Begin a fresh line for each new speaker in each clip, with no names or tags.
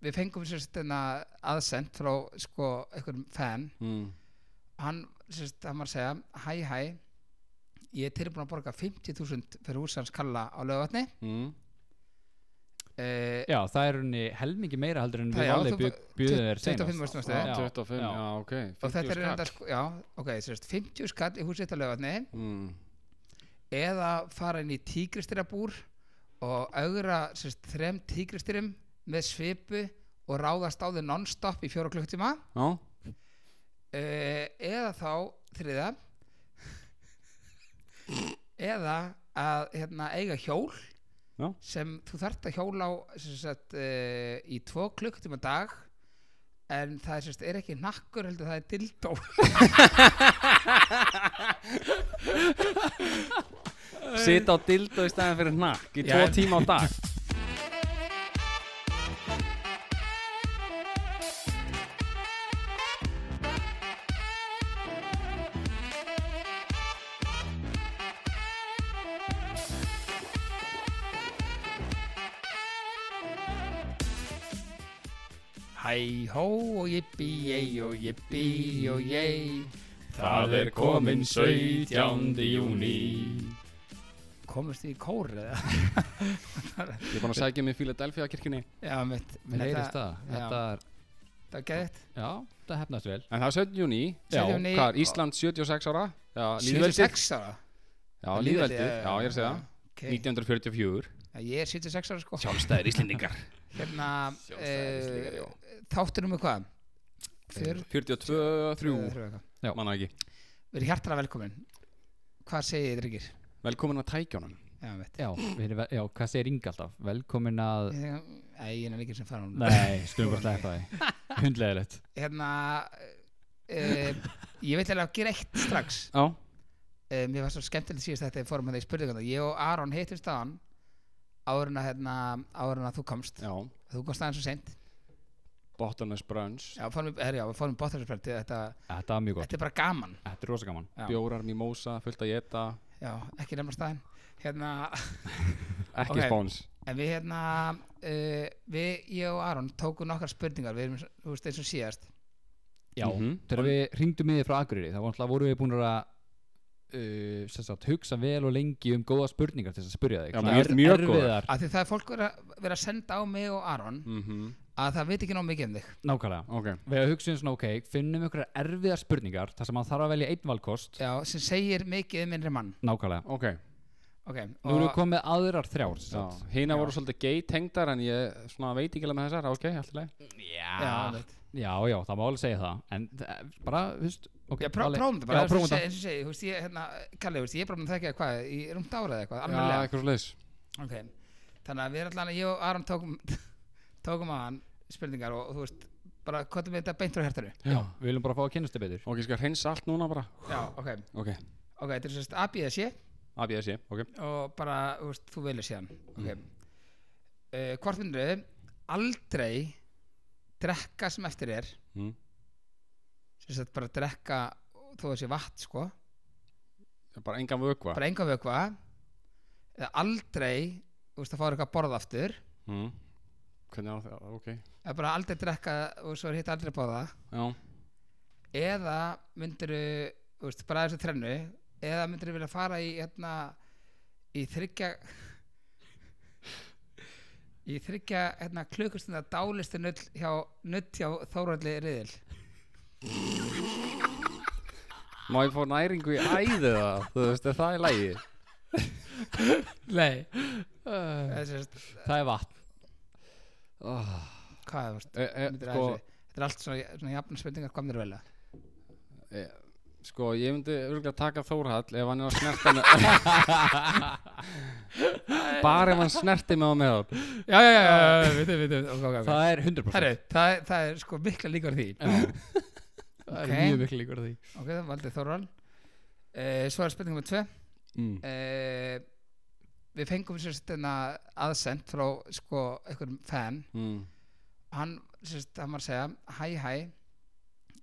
við fengum sérst enna aðsend frá sko einhverjum fan
mm.
hann, sérst, hann var að segja hæ hæ, ég er tilbúin að borga 50.000 fyrir húsans kalla á lögvatni
Mm.
uh,
Já, það er henni helmingi meira heldur en
Það-
við
já,
alveg
þú-
bjó- bjóðum þér
25
senast
veist næstu
Já,
Já,
25,
já.
já, ok 50
og þetta er
skall.
reynda sko, já, ok, sérst 50 skall í húsitt á lögvatni
mm.
eða fara inn í tígristyrabúr og augra sérst þrem tígristyrum með svipu og ráðast á þau non-stop í fjóra klukktíma
Já,
uh, eða þá þriða eða að hérna, eiga hjól
Já.
sem þú þarft að hjóla á sem sagt, uh, í tvo klukktíma á dag en það er, sem sagt, er ekki nakkur heldur það er dildó
Sita á dildo í staðan fyrir hnakk í
Já,
tvo
en-
tíma á dag
Hæ hó og jippi jæj og jippi og jæj
Það er komin 17. júní.
Komist þið í kór eða?
Ég er búin að sækja mig í Philadelphia kirkjunni
Já, mitt
Mér heyrist það,
já.
þetta er,
Það er gæðið
já, það hefnast vel
En það er 17. júni
Já,
17. júní.
Hvað er Ísland 76 ára? Já, lýðveldið
76 ára
Já, lýðveldið Já, ég er að segja það
okay.
1944
Já, Ég er 76 ára sko
Sjálfstæðir Íslendingar
Hérna
Sjálfstæðislegar, já.
uh, Þáttunum með hvað? 42
42, 3
eitthvað.
Manna ekki
Við erum hjartala velkomin Hvað segir þið, drengir?
Velkomin að tækjónum
Já, mitt
Já, við erum, já, hvað segir Inga alltaf? Velkomin að
Æ, ég er ekki sem fara hún
Nei, skulum bara sleppa því Hundlegilegt
Hérna uh, Ég veit alveg að gera eitt strax
Já
uh, mér var svo skemmtilegt síðast þetta við fórum að ég spurði hvernig ég og Aron hittumst á hann áður en að, hérna, áður en að þú komst
Já
þú komst aðeins svo seint
Bottomless brunch
já, fórum, her, já, við fórum bóttarspjöld þetta,
Þetta var mjög gott,
þetta er bara gaman
þetta er rosa gaman
Já.
Bjórar, mimosa, fullt að geta
já, ekki nefnast staðinn hérna,
Ekki
Ok.
spáns
en við hérna uh, við, ég og Aron tókum nokkar spurningar við erum, svo- þú veist, eins og síðast
Já,
Mhm.
þegar við ringdum í þið frá Akureyri þá náttúrulega vorum við búin að uh, sem sagt, hugsa vel og lengi um góða spurningar til þess að spyrja þig
Já,
Svona
mjög-
er-
mjög
erfiðar-
af því það er fólk verið að, verið að senda á mig og Aron
mm -hmm.
að það veit ekki nóg mikið um þig
Nákvæmlega
Ok
Við hugsaðum um svona, ok, finnum ykkur erfiðar spurningar þar sem maður þarf að velja einn valkost
já, sem segir mikið um innri mann
Nákvæmlega
Ok
okay,
Nú erum við
og,
komið með aðrar þrjár sem
Já,
sagt.
hína voru svolítið gay tengdar en ég svona veit ekki alveg með þessar, ok, allt í lagi
já,
Já,
veit.
já, já, það má alveg segja það En eh, bara, þú veist okay,
Já, pró,
Palli-
prófum þetta bara,
Já, prófum þetta
eins og segi, þú veist, ég, hérna, Kalli, þú veist, ég er bara með þekkja hvað, í rúmt ára eða eitthvað,
Já,
almennilega.
eitthvað svolítið
Ok, þannig að við erum allan að ég og Aron tókum, tókum að hann spurningar og, og þú veist, bara, hvað er þetta beint frá hjartanu?
Já, við viljum bara fá að kynast þið betur
Ok, ég skal hreinsa allt núna bara
Já, ok,
Ok,
ok, þetta er sérst ABS ég
ABS, ok
og bara, þú veist, þú velur síðan, ok. Uh, hvort myndir aldrei drekka sem eftir er,
mm.
sérst, bara drekka þó þessi vatn, sko,
Bara engan vökva
bara enga vökva, eða aldrei, þú veist, að fá þér eitthvað að borða aftur,
mm. Hvernig á það, ok
eða bara aldrei drekka og svo hitt aldrei bóða
Já,
eða myndiru veist, bara þessu trennu eða myndiru vilja fara í hérna, í þryggja í þryggja hérna, klukkustunda dálistu null hjá, null hjá Þóralli Riðil
má ég fá næringu í æði það, þú veist, er það í lagi
Nei eða, sérst,
Það er vatn
oh.
hvað, veist,
Eh,
e, e,
myndir
sko,
þessu þetta er allt svona, svona jafn spurningar komnir vel að.
e, sko, ég myndi örgulega taka Þórhall ef hann er að snerta með Bara ef hann snerti með á með það
já, já, já, já, við þau, við þau okay, okay, okay.
Það er 100%
Herru, það, er- það er sko mikla líkur því
Það
Ok.
er mjög mikil líkur á því
ok, það valdi Þórald uh, svo er spurningum með tvö
mm.
uh, við fengum sérst enna aðsend frá sko einhverjum fan
Mm.
hann, sérst, hann var að segja hæ hæ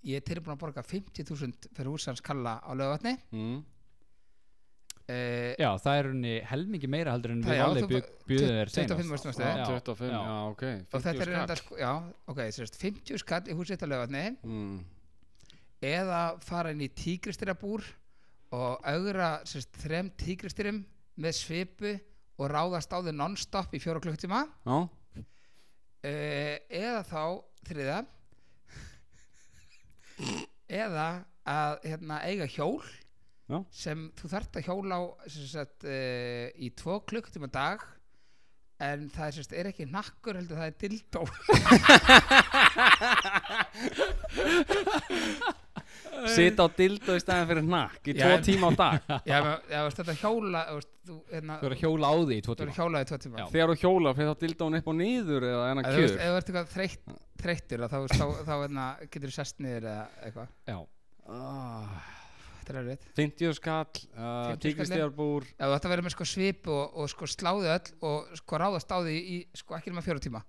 ég er tilbúin að borga 50.000 fyrir húsans kalla á lögvatni
Mm.
uh,
Já, það er henni helmingi meira heldur en
Það-
við
já,
alveg
þú-
bjó- bjóðum þér
25
senast.
mörgstu
Já,
næstu
Já,
25,
já.
já, ok
og þetta
50
er
skall.
reynda sko, já, ok, sérst, 50 skall í húsið að lögatni
mm.
eða fara inn í tígristyrabúr og augra sérst, þrem tígristyrum með svipu og ráðast á þau non-stop í fjóra klukktíma
Já,
uh, eða þá þriða eða að hérna, eiga hjól
Já.
sem þú þarft að hjóla á sem sagt, uh, í tvo klukkutíma á dag en það er, sem sagt, er ekki nakkur heldur það er dildó
Sita á dildo í stæðan fyrir nakk í
Eh. Já,
tvo
en-
tíma á dag
Já, ef- ef þú ert að hjóla ef þú ert- þú, hérna,
Þú verður að hjóla á því í
þú
tvo
er
tíma.
að hjóla í tvo tíma
Já.
Þegar þú hjólar fyrir þá dildón upp og niður eða enna
Ef þú eh,
kjur
ert ef þú ert eitthvað þreytt, þreyttur þá, þá, þá, þá hérna, getur þú sest niður eða eitthvað
Já,
Ah,
Þetta er erfitt
50 skall, uh,
50
tíkristjarbúr
Ef þú ætti að vera með sko svip og, og sko sláði öll og sko ráðast á því í sko ekki nema fjóra tíma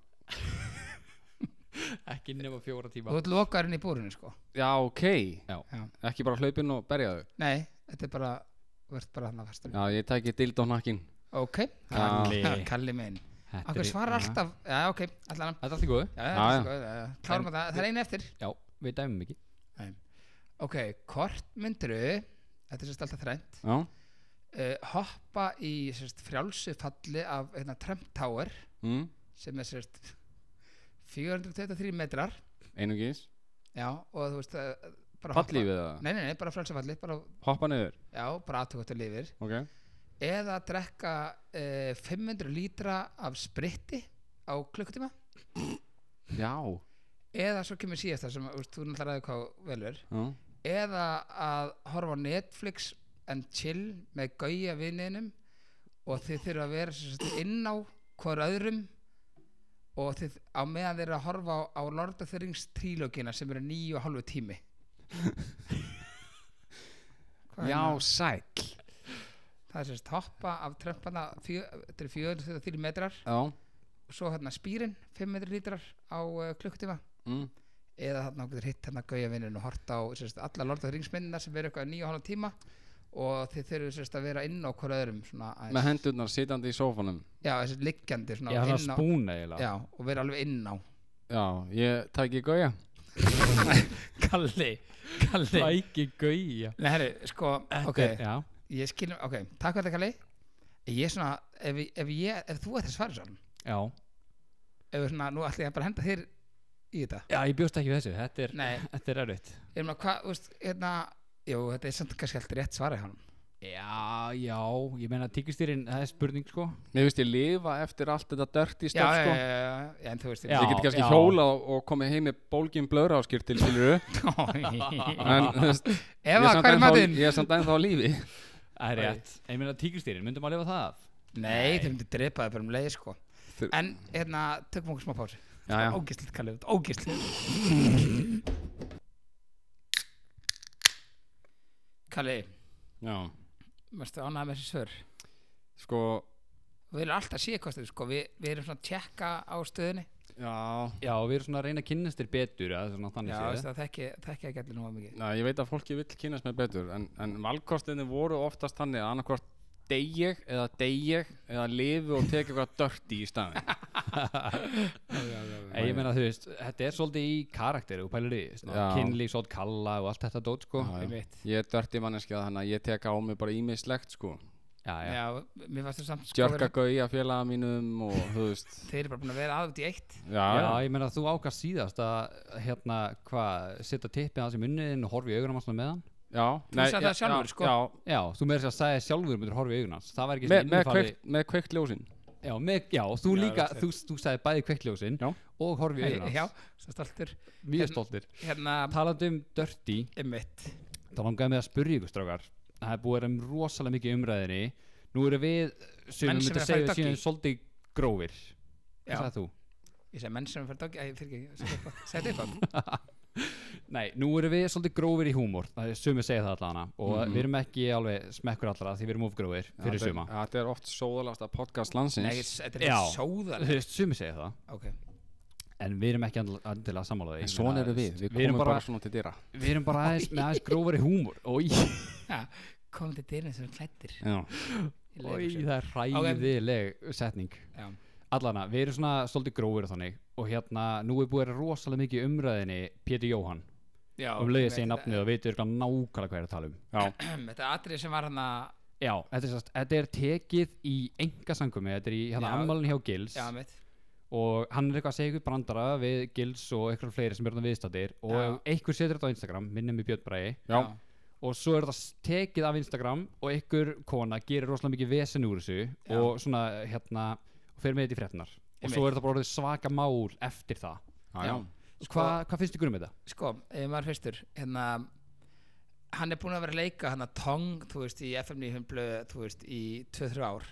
ekki nema fjóra tíma.
Þú ert lokaður inn í búrinu sko
Já, ok,
Já.
Já.
ekki bara hlaupin og berja þau
Nei, þetta er bara verðt bara hann að fastur
Já, ég tæki dildónakkin
Ok,
Kalli.
Ha, Kalli minn
Þetta
Akkur
er-
svarar
Já.
alltaf, já ok, allan
Þetta er allt í góðu.
Já, já,
Já, já.
já, já. já. Klárum þetta, það er einu eftir
Já, við dæmum ekki.
Ok, hvort myndiru Þetta er sérst alltaf þrænt
Já,
uh, Hoppa í sérst frjálsu falli af hérna, Trump Tower
mm.
sem er sérst 423 metrar
einungis
Já, og þú veist uh, bara hoppa-
Fallífið það,
Nei, nei, nei, bara frjálsu falli bara,
hoppa niður
Já, bara aðtökvæmt að lifir
Ok,
eða drekka uh, 500 lítra af spritti á klukkutíma
já,
eða svo kemur síðast það sem úr, þú náttúrulega ræður hvað velur
já.
eða að horfa á Netflix en chill með gauja vinninum og þið þurfa að vera sem sagt, inn á hver öðrum og þið, á meðan þeir eru að horfa á, á Lord of the Rings trílógina sem eru níu og hálfu tími Hvað er
Já,
það?
sæll
það er sérst hoppa af trömpana þetta er 403 metrar
Já,
og svo hérna spýrin 500 lítrar á uh, klukkutíma
mm.
eða þarna okkur hitt hérna gaujavinnin og horta á sérst, alla Lord of the Rings minnina sem verður eitthvað nýja hálfa tíma og þið þurfum sérst að vera inn á hver öðrum svona aðeins-
með hendurnar sitjandi í sófanum
já, þessi liggjandi svona
Ég hann að
inn á
spúna eiginlega.
já, og vera alveg inn á
Já, ég tæki gauja
Kalli, kalli. Tæki gauja.
Nei, herri, sko, ok,
Já,
ég skilum ok, takk fyrir þetta Kalli ég er svona, ef, ég- ef, ég, ef þú ætti að svara svona
já.
ef við svona, nú ætla ég að bara henda þér í þetta
Já, ég bjóst ekki við þessu. Þetta er,
nei,
þetta er erfitt.
ég meina, hvað, þú veist, hérna jú, þetta er samt kannski alltaf rétt svarað hann
Já, já, ég meina tíkustýrin, það er spurning sko.
Mér finnst ég lifa eftir allt þetta dirty
já,
stöf
já,
sko.
já, já, já, en þú veist
Já.
Ég geti kannski
já.
hjólað og- og komið heim með bólgin blöðra áskýrtil skilur En þú veist, ég
Eva,
samt
hvað er
ennþá-
matinn?
Ég er samt ennþá á lífi
Það er rétt. Ég meina tíkustýrin, myndum að lifa það af?
Nei, þau myndi drepa það bara um leið sko
Þau-
En hérna, tökum okkur smá pásu
Já, já,
Ógislit kallið, ógislit Kalli,
já.
mérstu ánæða með þessi svör
Sko,
Við erum alltaf síðkostur sko Við, við erum svona að tjekka á stöðinni
já
Já, við erum svona að reyna að kynnast þér betur eða svona
Já,
þannig séð.
það þekki, þekki ekki allir nú að mikið
Já, ég veit að fólki vill kynast mér betur en, en valkostinni voru oftast þannig að annarkvort dey ég eða dey ég eða lifi og teki eitthvað dörti í staðin
En ég meina þú veist, þetta er svolítið í karakteru og pælir í,
Já.
kynli, sót kalla og allt þetta dót sko.
Já, já.
Einmitt.
Ég er dörti manneskja þannig að ég tek á mig bara ímislegt sko
Já, já.
Já, mér fannst þú samt sko
Djörka
vera-
gauja félaga mínum og þú veist
Þeir eru bara búin að vera aðvægt í eitt
Já,
Já,
já,
ég meina þú ákast síðast að hérna, hvað, setja tippið hans í munniðin og horfa í augunum hans með hann
já
Þú sagði það sjálfur,
já,
sko.
Já,
Já, þú með þess að segja sjálfur myndir horfa í augunum hans Það var ekki
me,
svona
með,
innifali-
kveikt, með kveikt ljósin
Já, með, já þú
Já,
líka,
þetta er-
þú, þú sagði bæði kveiktljósin
Já.
og horfa í augunum
Já,
hans
svo stoltur
Mjög stoltir
Hérna,
Talandi um Dirty,
einmitt
þá langaði mig að spurja ykkur strákar Það er búið að vera um rosalega mikið í umræðinni Nú eru við, sem
Menn
við
sem eru
myndum
að fara
að
í
segja
doggy.
síðan svolítið grófir
Já.
Hvað sagði þú?
Ég segi menn sem fyrir doggi, æ, fyrir ekki, segði upp á
Nei, nú erum við svolítið grófir í húmor Það er sumið segja það allana Og
Mhm.
við erum ekki alveg smekkur allra því við erum ofgrófir
Þetta
fyrir
er-
suma
Þetta er oft sóðalasta podcast
Nei,
landsins
þetta er
Já.
ekki sóðaleg
Þú veist, sumið segja það
Ok,
En við erum ekki andl- endilega sammála því
En
Ég
svona
meina,
eru við, við
erum
komum bara
bara,
svona til dýra
Við erum bara aðeins, með aðeins grófari húmor Og ég
ja, komum til dyrinn sem klættir
Já,
í
Oj,
leikhúsið.
það er hræðileg setning
Já.
Allana, við erum svona svolítið grófur og þannig og hérna, nú er búið að vera rosalega mikið í umræðinni Pétur Jóhann
Já,
um leiðið segja
þetta-
nafnið og veitur nákvæmlega hvað er að tala um
já,
þetta atrið sem var hérna- hann að
Já, þetta er, sast, þetta er tekið í engasangumi, þetta er í hérna,
Já.
ammálinn hjá Gils
já, mitt,
og hann er eitthvað að segja ykkur brandara við Gils og eitthvað fleiri sem er þarna viðstættir og
Já.
ef einhver setur þetta á Instagram, minnum í Björn Bræði
já,
og svo er það tekið af Instagram og einhver kona gerir rosalega mikið vesen úr þessu og svona hérna og fer með þetta í fréttnar og svo
Einmitt.
er það bara orðið svaka mál eftir það
já, já.
sko, hvað hva finnst ykkur um þetta?
sko, ef maður fyrstur hérna, hann er búin að vera að leika hann að tong, þú veist, í FM 9 blöð, þú veist, í 2-3 ár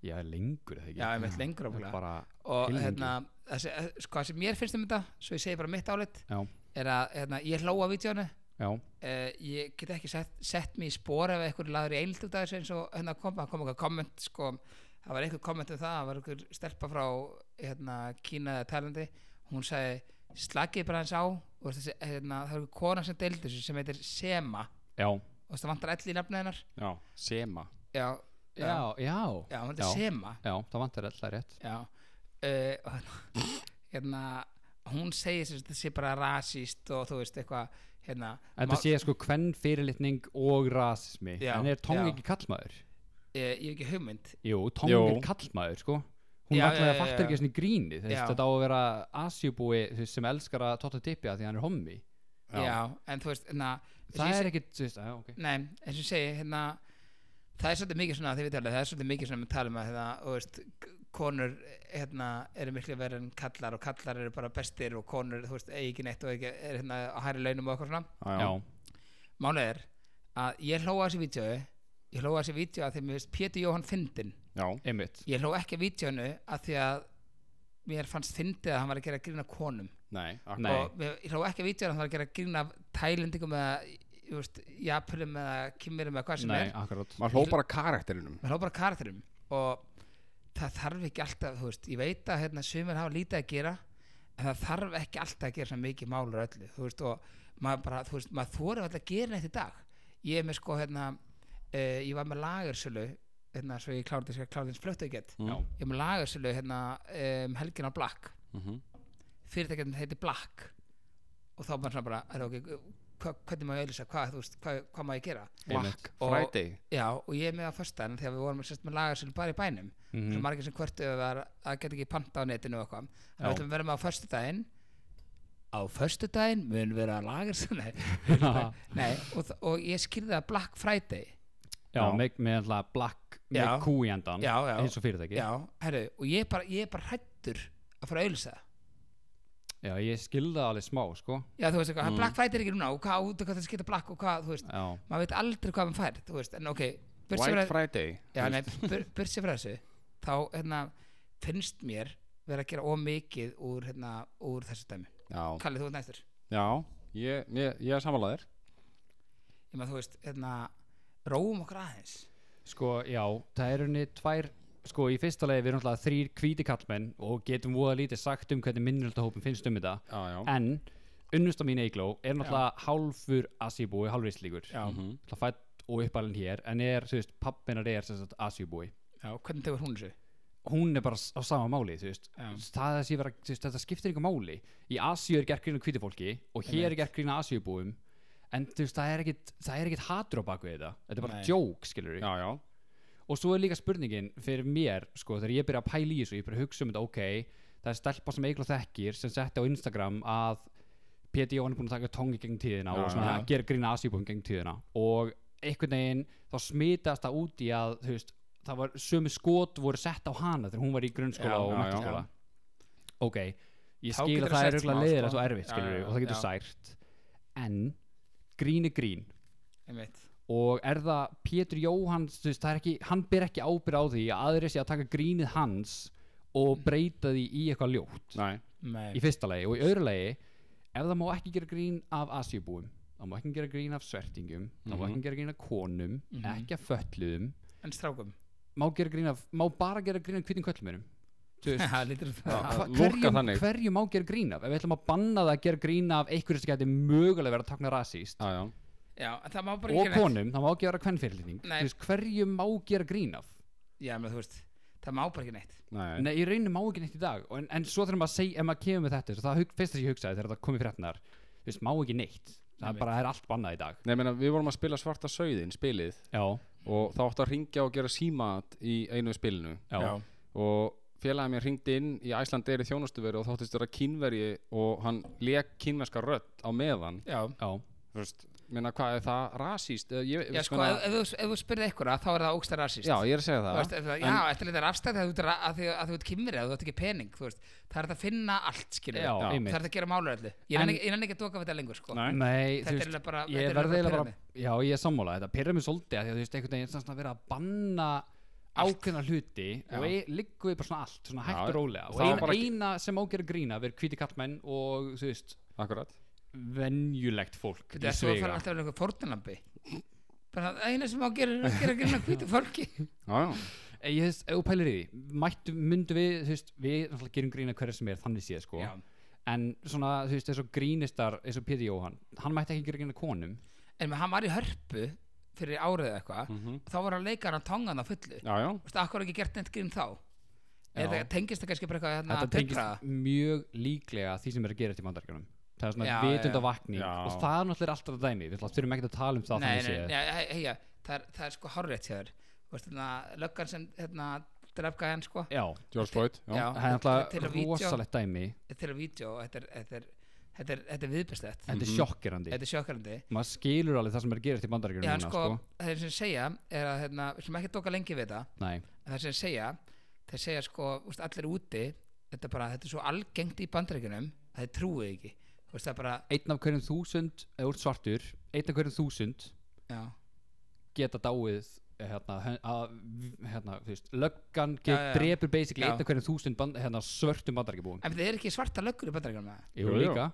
Já, lengur eða ekki
já, ég veit lengur
Það er
ábúinlega
bara,
og
heillengi.
hérna, þessi, eh, sko, það sem mér finnst um þetta svo ég segi bara mitt álit
já,
er að, hérna, ég hló á vídjónu
já,
Uh, ég get ekki sett, sett mig í spór ef einhver laður í eildu dag eins og hérna kom, það kom eitthvað komment sko, það var eitthvað komment um það, það var einhver stelpa frá hérna, Kína eða Tælandi hún sagði slagið bara hans á og þessi, hérna, það var einhver kona sem deildi þessu sem heitir Sema
já
og það vantar ell í nafni hennar
já. Sema
já,
já, já,
já, hún heitir Sema
já, það vantar alltaf rétt
já, uh, og hérna, hérna hún segir sem sagt, þetta sé bara rasist og þú veist eitthvað hérna,
En
má-
það sé sko hvern fyrirlitning og rasismi
Já,
En er Tong
já.
ekki kallmaður?
eh, ég hef ekki hugmynd
Jú, Tong
Jú.
er kallmaður sko Hún
Já,
alltaf
já, já,
fattar
já.
ekki svona gríni
Já.
Þetta á að vera Asjubúi þú veist, sem elskar að totta tippja því hann er hommi
já.
Já.
en þú veist, hérna
Það er ekkit, þú veist, að, ok
Nei, eins og ég segi, hérna það er svolítið mikið svona, þið veit alveg, það er svolítið mikið svona með talum að hérna, þú veist, k- konur hérna eru miklu verið en kallar og kallar eru bara bestir og konur, þú veist, eigi ekki neitt og ekki, er hérna á hæri launum og eitthvað svona.
já,
Já,
já,
Málið er að ég hlóa þessi vídeo, ég hlóa þessi vídeo að því mér finnst Pétur Jóhann fyndin.
já,
einmitt
Ég hlóa ekki að vídeonu að því að mér fannst fyndið að hann var að gera grína konum
nei, akkur
Nei.
og mér- ég hló ekki að vítja hann þarf að gera grína af tælendingum eða ég veist, japurum eða kimmurum eða hvað sem
Nei,
er
akkurát
Maður hló bara karakterinum
maður hló bara karakterum og það þarf ekki alltaf þú veist, ég veit að hérna, sumir hafa lítið að gera en það þarf ekki alltaf að gera svona mikið málur öllu þú veist, og maður bara, þú veist, maður þorir alltaf að gera neitt í dag ég er með sko, hérna uh, ég var með lagarsölu hérna, svo ég kláði þess að kláði þess flöttu ekkert
Já,
ég var með lagarsölu, hérna, um, helgin á Black
mhm,
fyrirtækjarnir heiti Black og þá var maður svona bara, er, okay, hva, hvernig má ég auðlýsa, hvað, þú veist, hvað, hvað má ég gera
Einmitt.
Black
Og-
Friday
já, og ég er með á föstaðan þegar við vorum sérst með lagarsölu bara í bænum mm
Mhm.
-hmm. margir sem kvörtu að það geta ekki panta á netinu og eitthvað þannig
Já.
við ætlum að vera með á föstudaginn á föstudaginn mun vera lagarsölu nei, og, þ- og ég skýrði það Black Friday
Já,
Já.
með, með alltaf black með
Já.
kú í endan
Já, já.
eins og fyrirtæki
já, herru, og ég er bara, ég er bara hrættur að fara að auðlýsa það
Já, ég skilða alveg smá, sko
já, þú veist, mm. Black Friday er ekki núna og hvað, út og hvað það skýrta Black og hvað, þú veist
Já,
maður veit aldrei hvað maður fær þú veist, en ok burt sér
White
frá-
Friday
já, nei, bur- burt sér frá þessu þá hérna, finnst mér vera að gera ómikið úr, hérna, úr þessu dæmi
Já,
Kallið, þú ert næstur
já, ég, ég, ég er samanlæðir
ég maður, þú veist, hérna, róum okkur aðeins
sko, já, það er henni tvær Sko, í fyrsta lagi við erum alltaf þrýr hvíti kallmenn og getum voða lítið sagt um hvernig minnjöldahópin finnst um þetta
Já, já,
en unnusta mín Eigló er náttúrulega hálfur asíbúi, hálfur íslíkur
já, Mhm.
náttúrulega fætt og uppalinn hér en er, þú veist, pappinar er sem sagt asíbúi
já hvernig tegur hún þessu
hún er bara s- á sama máli, þú veist
Já.
það að sé vera, þú veist, þetta skiptir ykkur máli í Asíu er gert grína hviti fólki og hér er gert grína asíubúum en þú veist, það er ekkit, það er ekkit hatur á baku þetta, þetta er bara
Nei.
joke, skilur við
já, já,
og svo er líka spurningin fyrir mér sko, þegar ég byrja að pæla í þessu, ég byrja að hugsa um þetta ok, það er stelpa sem Egil og þekkir sem setti á Instagram að Pétur Jón er búin að taka tongi gegn tíðina og
Já,
svona
já.
gera grína asíbúum gegn tíðina og einhvern veginn þá smitast það út í að þú veist, það var sömu skot voru sett á hana þegar hún var í grunnskóla
Já,
og
já, já.
mentaskóla ok, ég
Þá
skil
getur
að
það
það er
sært
auðvitað
smá,
leiðilegt
sko.
og erfitt
Já,
skilur
já,
og það getur
já.
sært en grín er grín
einmitt,
og er það Pétur Jóhanns þú veist, það er ekki, hann ber ekki ábyrð á því að aðri sé að taka grínið hans og breyta því í eitthvað ljótt
Mm. nei
í
nei,
fyrsta lagi og í öðru lagi ef það má ekki gera grín af asjubúum það má ekki gera grín af svertingum það má
Mhm.
ekki gera grín af konum ekki af föllum
en strákum
má, gera grín af, má bara gera grín af hvítum köllumönum
það lítur út
Já.
það
Að loka
hverju,
þannig.
hverju má gera grín af ef við ætlum að banna það að gera grín af einhverju sem gæti mögulega verið að takna rasíst
Já, já,
já, en það má bara
og
ekki neitt.
konum, það má ekki vera kvennfyrirlitning
Nei.
hverju má gera grín af
já, menn þú veist, það má bara ekki neitt
Nei,
Nei, í rauninu má ekki neitt í dag Og en, en svo þegar maður segi, ef maður kemur með þetta svo það hug- fyrsta sem ég hugsaði þegar það komið fréttnar þú veist, má ekki neitt, það
Nei,
bara er allt bannað í dag
Nei meina, við vorum að spila svarta sögðin, spilið
Já,
og þá átti að ringja og gera símat í einu spilinu
já, já,
og félagið mér ringdi inn í Æslandi er í þjónustuveri og þáttist vera kínverji og hann lék kínverska rödd á meðan
já,
Þú veist, meina, hvað er það rasíst? Eða Ég,
já sko, ef, ef, þú- ef þú spyrði einhverja þá er það ógsta rasist
já, ég er að segja
Þú
það
veist, ef það- já, eftir þetta er afstæð að þú ert ra- að þú- að þú ert kymrið, að þú ert ekki pening þú veist. það er þetta að finna allt skilur
já,
við. það
einmitt
er þetta að gera málur öllu ég
En-
nenni ekki- ég nenni ekki að doka við þetta lengur sko.
Nei.
Nei,
þetta er eiginlega bara þetta
ég
er
verði
eiginlega
eiginlega
bara
bara já, ég er sammála, þetta pyrra mig svolítið af því að þú veist, einhvern veginn er svona verið að banna ákveðna hluti og e, liggum við bara svona allt, svona hægt
Já,
og rólega og
það var
ein,
bara ekki-
eina sem ágera grína verið hvíti kallmenn og þú veist,
Akkurat
venjulegt fólk
Þetta er svo að fara alltaf verið eitthvað fórnalambi Bara það eina sem má gera er að gera grín að hvítu fólki
Já, já
Ég, þú veist, ef þú pælir í því mættu, myndu við, þú veist, við náttúrulega gerum grína um hverja sem er, þannig séð sko
Já.
en svona, þú veist, þessu grínistar eins og Pétur Jóhann, hann mætti ekki gera grína konum
En hann var í hörpu fyrir árið eða eitthvað
Mhm.
Þá var hann leikar hann tongan á fullu
Já, já,
Þú veist, akkur ekki gert neitt grín þá
Já.
Eða tengist það kannski bara eitthvað hérna
þetta
að pipra
tengist mjög líklega því sem er að gera þetta í bandaríkjunum það er svona
Já,
vitund
já.
af vakning
Já.
og það er náttúrulega alltaf það dæmi við þurfum ekki að tala um það
Nei,
þannig
nei,
séð
nei, nei, heja, það, er, það er sko hárrétt hjá þér Þú veist, hérna, löggan sem hérna, drefka henn sko
já,
George Floyd Já,
Já.
það er
Til að
náttúrulega
vídeó.
rosalegt dæmi
Þetta er að vídeo og þetta er, þetta er, þetta er, þetta er viðbestlegt
þetta er sjokkerandi
Þetta er sjokkarandi
maður skilur alveg það sem er að gera þetta í
Já,
bandaríkjunum
en
núna,
sko, þeir sem segja er að, hérna, við sem ekki tóka lengi við þetta
Nei,
en það sem þeir segja þeir segja sko, úst, allir úti þetta er bara, þetta er svo algengt í bandaríkunum að þeir trúið ekki Þú veist, það er bara,
einn af hverjum þúsund eða úr svartur, einn af hverjum þúsund
já,
geta dáið eh, hérna, hön- að, hérna, þú veist, löggan
Já,
get,
já, já.
drepur basically
Já.
einn af hverjum þúsund band, hérna, svörtum bandaríkjabúum
en það er ekki svarta löggur í bandaríkunum eða?
Jú,
Jú,
jú.
líka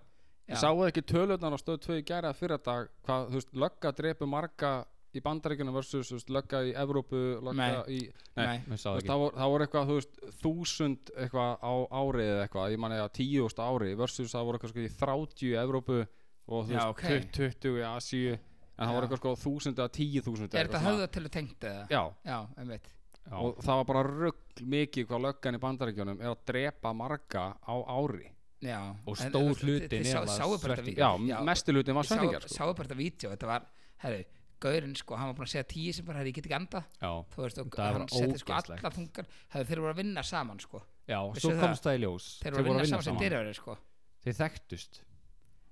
Ég sáu ekki tölurnar á stöð 2 í gæra fyrir dag hvað, þú veist, lögga drepu marga í bandaríkjunum versus þú veist, lögga í Evrópu lögga
Nei.
í,
nei,
Ég sá
Þú
það
veist,
ekki.
það, voru, það voru eitthvað, þú veist, þúsund eitthvað á ári eða eitthvað, ég manni að tíust ári versus það voru eitthvað sko í 30 í Evrópu og þú
Já,
veist,
ok.
20 í Asíu en það
Já.
voru eitthvað sko þúsund eða tíu þúsund
er þetta höfðatölu tengt eða?
Já,
Já, einmitt
Já.
og það var bara rugg mikið hvað löggan í bandaríkjunum er að drepa marga á ári
Já,
Og
en-
stór
en þú veist,
hluti
þið- þið
nema
sá- sáu bara þetta
svertingar.
vídeó.
Já, já mestilutin var
ég sá-
svettingar sko.
sáu bara þetta vídeo, þetta var, herru gaurinn sko, hann var búin að segja tíu sem bara, herru, ég get ekki anda
Já,
þú veist, og
Það var
hann setti sko
ógeðslegt.
alla þungar hefur þeir voru að vinna saman sko
já
Vissu
svo
það?
komst það í ljós
þeir voru að vinna saman sem dyraveri sko
Þeir þekktust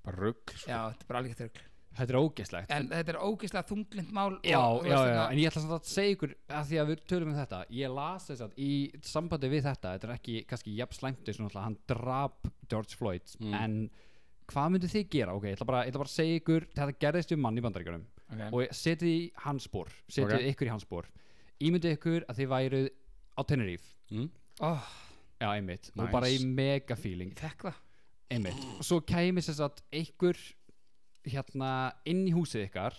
bara rugg sko.
Já, þetta er bara alveg þurrgl
Þetta er ógeðslegt
En þetta er ógeðslega þunglind mál
Já,
og,
já, já, en ég ætla samt að segja ykkur að því að við tölum um þetta ég las þess að í sambandi við þetta þetta er ekki kannski jafn slæmt eins og náttúrulega hann drap George Floyd en hvað myndu þið gera? Ok, ég ætla bara, ég ætla bara að segja ykkur þetta gerðist við mann í bandaríkjunum
já
og setið í hans spór setið
Ok.
ykkur í hans spór ímyndið ykkur að þið væruð á Tenerife
mm.
oh,
já, einmitt,
Nice.
og bara í mega feeling
Ég fekk það
einmitt, og svo kæmi sér satt ykkur hérna inn í húsið ykkar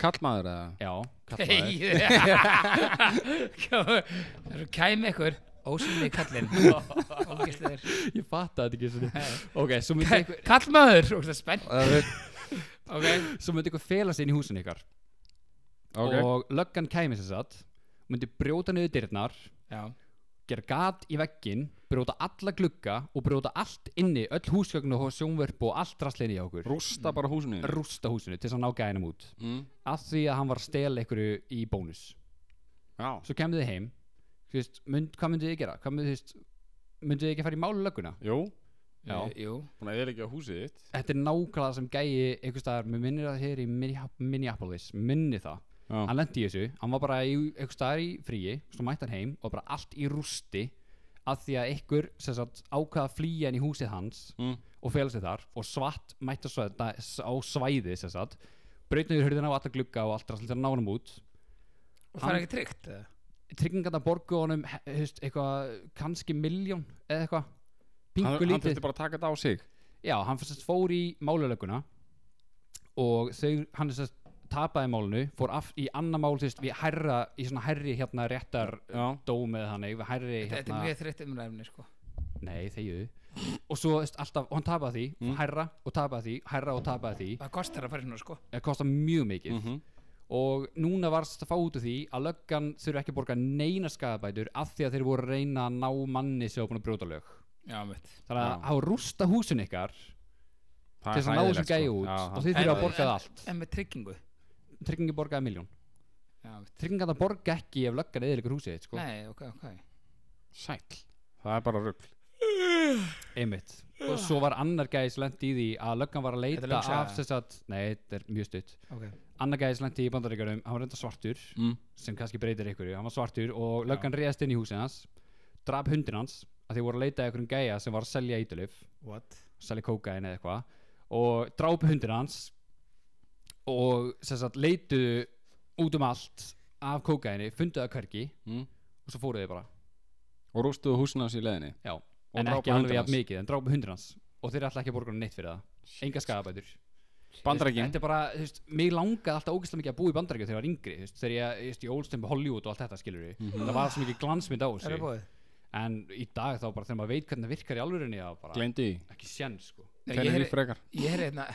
kallmaður eða
já, kallaður hey.
Hey. Kæmi ykkur Ósynlegi kallinn Ógeðslegur
ég fatta þetta ekki svona. ok, svo myndi ykkur
Kallmaður Ógeðslega spennt
okay. svo myndi ykkur fela sig inn í húsinu ykkar
ok,
og löggan kæmi sér satt myndi brjóta niður dyrnar
Já
gera gat í veggin brjóta alla glugga og brjóta allt inni öll húsgögnu og sjónverf og allt raslinni hjá okkur
rústa bara húsinu þínu.
rústa húsinu til þess að ná gæðinum út
mm.
af því að hann var að stela einhverju í bónus
já,
svo kemur þið heim þú veist, mynd, hvað mynduð þið gera? Hvað mynduð, þú veist, mynduð þið ekki að fara í málu lögguna?
jú
Já.
Jú, Jú
hún er ekki á húsið þitt
Þetta er nákvæmlega það sem gæi einhvers staðar, mér minnir það hér í Minneap- Minneapolis, minni það
Já.
hann lendi í þessu, hann var bara í einhvers staðar í fríi, svo mætti hann heim og bara allt í rústi af því að einhver sem sagt, ákvaða að flýja inn í húsið hans
Mm.
og fela sig þar og svart mætti á svæði, á svæði sem sagt, braut niður hurðina á alla glugga og allt rastlítið að ná hann út
Og
Hann-
fara ekki tryggt eða?
tryggingarna borgu honum he- þú veist, eitthvað, kannski miljón eða eitthvað,
hann,
pingu
hann
lítið
þurfti bara að taka þetta á sig
já, hann fyrst fór í máluleguna og þau, hann fyrst tapaði málunu, fór aft í annað mál, þú veist, við hærra, í svona hærri hérna réttar
já,
dóm eða þannig, við hærri
Þetta er
hérna,
mjög Mm. þreytt umræfni sko
nei, þegiðu og svo veist, alltaf, og hann tapaði því, hærra og tapaði því, hærra og tapaði því
það kostar að fara svona sko
það kostar mjög mikið
Mhm.
og núna varst að fá út af því að löggan þurfi ekki að borga neina skadabætur af því að þeir voru að reyna að ná manni sem var búin að brjóta lög
já, mitt
þannig að
Já.
hafa rústa húsin ykkar
Það
til
er
þess að ná þessum
hræðilegt,
gæja
sko.
út
Já,
og
það-
þið þurfa að
En-
borga það
en-
allt
en með tryggingu
tryggingi borgaði miljón
já, mitt
tryggingi að borga ekki ef löggan eða ykkur húsið þitt, sko.
nei, ok, ok
Sæll Það er bara rugl
einmitt og svo var annar gæði sem lendi í því að löggan var að
Þetta er
leita
löng saga.
af þess að nei, þetta er mjög stutt
ok
annar gæði sem lendi í bandaríkjörnum hann var reynda svartur
mm.
sem kannski breytir ykkur hann var svartur og löggan reyðast inn í húsin hans draf hundin hans að því voru að leita að ykkur um gæja sem var að selja ídulif
what
selja kókain eða eitthvað og dráp hundin hans og sem sagt leituðu út um allt af kókaini funduðu að hvergi
Mm.
og svo fóruðu þið bara
Og rústuðu húsin hans í leiðinni
já, en
drápu
ekki
hundinn
alveg jafn
hans.
mikið en drápu hundin hans og þeir ætla ekki að borga hann neitt fyrir það enga skafabætur
Bandarækin
Þetta er bara, þú veist, mig langaði alltaf ógeðslega mikið að búa í bandaríkjum þegar ég var yngri, þú veist, þegar ég, þú veist, ég ólst um Hollywood og allt þetta, skilur við.
Mhm.
Það var svo mikið glansmynd á
er það
þessu.
búið
En í dag þá bara þegar maður veit hvernig það virkar í alvörunni, já, bara
Gleimdi því
ekki sjens, sko.
Nei,
Hvernig
ég
er
er-
því frekar
ég er hérna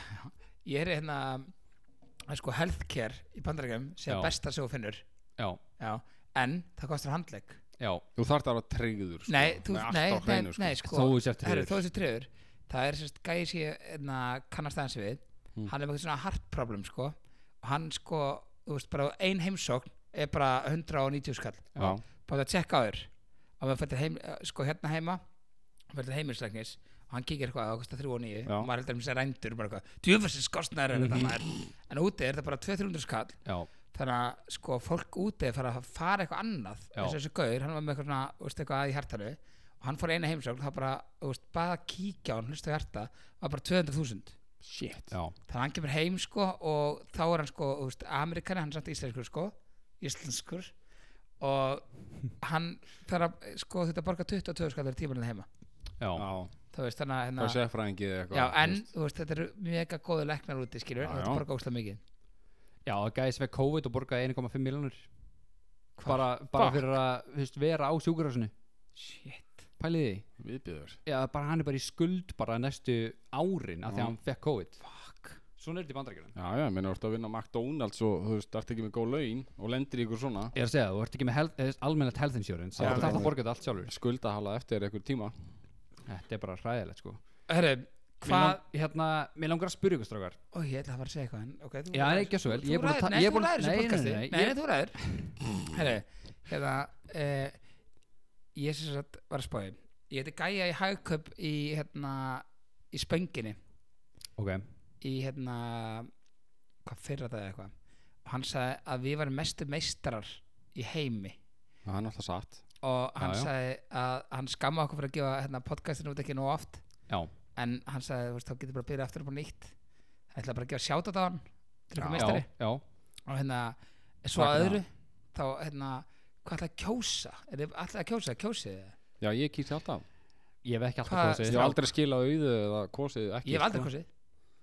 ég er hérna það er sko healthcare í bandarækjum sem
Já.
er besta sem þú finnur
Já,
já en það kostar handlegg
já,
Þú þarft að vera treyður sko.
nei, þú,
Með allt
nei,
á
nei,
hreinu, sko.
nei sko
Þó þú sért tryggður.
herru, þó þú sért tryggður. það er sérst gæði sér hérna, kannast aðeins við
Hmm.
hann er með eitthvað svona heart problem sko og hann sko þú veist bara ein heimsókn er bara 190 skall
Já.
bara að tjekka á þér og maður fyrir heim, sko hérna heima fyrir til heimilislegnis og hann kíkir eitthvað á kosta 3 og 9
Já.
og maður heldur um sér rændur bara eitthvað djöfusins kostnæður er þetta maður en úti er þetta bara 200-300 skall
já,
þannig að sko fólk úti er fara að fara eitthvað annað
Já.
eins og þessi gaur, hann var með eitthvað, svona, þú veist, eitthvað að í hjartanu og hann fór í eina heimsókn þá bara, þú veist, bara að kíkja á hann hlusta á hjarta, var bara 200.000
Shit
já,
þannig að hann kemur heim sko og þá er hann sko, þú veist, Amerikani hann er samt íslenskur sko, íslenskur og hann þarf að, sko, þetta borga 22 skallar tímanlega heima,
já,
Já
þá veist, þannig að
Það
hérna,
er sefræðingi eða eitthvað
já,
þú
en,
veist.
þú veist, þetta eru mega góðu leknar úti, skilur,
Já,
þetta
já.
borga óslega mikið
já, að gæði sveg COVID og borgaði 1,5 miljonur.
Hvar?
Bara, bara
Fuck.
fyrir að, þú veist, vera á sjúkurásinu.
shit,
Pæliði því.
Viðbjöður
Já, bara hann er bara í skuld bara næstu árin af því
Já.
að hann fekk COVID.
fuck
Svona er þetta í bandaríkjörnum.
Já, já, minna, þú ert að vinna á McDonalds og þú veist, ert ekki með góð laun og lendir í ykkur svona
Ég er að segja, þú ert ekki með health, eh, almennilegt health insurance,
Já,
þá þarf
já.
að borga þetta allt sjálfur.
skuldahala eftir ykkur tíma
Þetta er bara hræðilegt sko
herru,
Mér
hvað,
lang- Hérna, mér langar að spyrja ykkur strákar
ó, ég ætla að fara að segja eitthvað en, ok, þú
Já,
ræður.
ekki að svo vel,
Þú-
ég er
þú
búin að ta-
ræður- nei,
ég er
þú
búin-
ræður þessu
nei, nei,
podcasti.
nei,
nei,
ég-
nei, þú ræður herru, hérna eh, ég sem sagt var að spáði ég heiti Gæja í Hagköp í hérna, í Spönginni
Ok,
í hérna hvað fyrra það eitthvað og hann sagði að við varum mestu meistarar í heimi
Það er náttúrulega satt
og hann
Já, já.
sagði að hann skamma okkur fyrir að gefa hérna, podcastinu út ekki nóg oft
já,
en hann sagði, þú veist, þá getur bara að byrja aftur upp á nýtt hann ætlaði bara að gefa sjátt á hann til
Já.
okkur
já,
meistari
já
og hérna, svo
Ragnar.
að öðru þá, hérna, hvað ætlaði að kjósa er þið ætlaði að kjósa, kjósið þið
Já, ég kýrti alltaf
Ég hef ekki alltaf
Hvað-
kosið
Ég hef aldrei skilað auðu eða kosið ekki
ég hef aldrei
sko.
kjósið,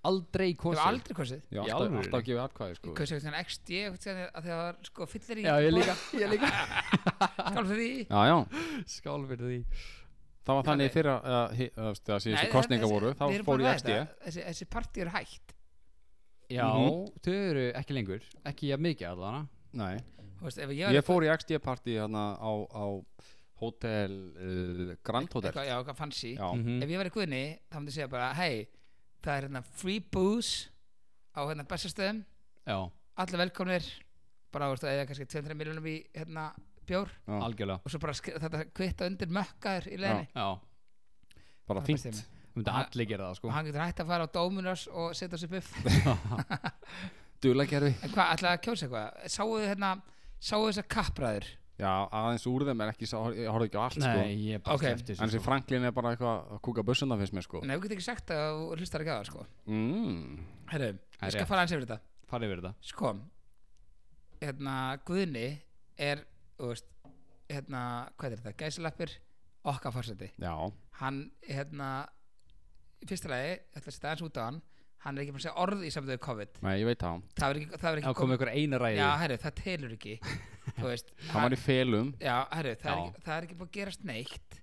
Aldrei
ég
kosið
hef aldrei kjósið
Ég
Í
hef alltaf,
alvöru?
alltaf gefið atkvæði sko.
ég kjósið eitthvað XD, eitthvað að það var sko fyllir í
Já, ég líka, ég líka
skálum fyrir því
Já, já
Skál fyrir því
Það var þannig
Þannig-
fyrir að síðustu
Nei,
síðustu kostninga
þessi-
voru Þá
við erum
fór
búin
ég
að
eftir
ræða þetta. þessi, þessi partí eru hægt
Já,
Mhm.
þau eru ekki lengur, ekki jafn mikið allavega
Nei
Þú veist, ef ég,
Ég fór í XD-partí hérna á, á Hotel uh, Grand Hotel
eitthvað, já, eitthvað fancy
Já,
Mhm.
ef ég var í guðni, þá myndi ég segja bara hei, það er hérna free booze á hérna bestastöðum
Já,
allir velkomnir bara þú veist, eða kannski 200 miljonum í hérna bjór
Já.
algjörlega
og svo bara sk- þetta kvitta undir mökkaður í leðinni
Já,
bara
Það
fínt
finnst
þú myndi allir gera það sko
og hann getur hægt að fara á Dominos og setja sér buff
Dulagerfi
en hvað, ætlaði að kjósa eitthvað sáu þið hérna, sáu þessar kappræður
Já, aðeins úr þeim er ekki, sá- ég horfði ekki á allt
Nei, ég er bara
Ok.
okay. eftir
sko En
þessu
þessi
sko.
Franklin er bara eitthvað að kúka bussuna fyrst mér sko
nei, við getum ekki sagt að þú hlustar ekki á það sko
mm.
herru,
Það er
ég skal
rétt.
fara aðeins yfir þetta
Farið verið það
sko hérna, Guðni er þú veist, hérna, hvað er þetta, gæsilappir okkar fórseti,
Já,
hann hérna, í fyrsta lagi, ég ætla að setja aðeins út á hann hann er ekki búin að segja orð í samtöðu COVID
nei, ég veit það
það verður ekki, það verður
Já,
ekki
komið ykkur eina ræði
já, herru, það telur ekki þú veist,
Hann var í felum
já, herru, það, Er
Já.
ekki, það er ekki búin að gerast neitt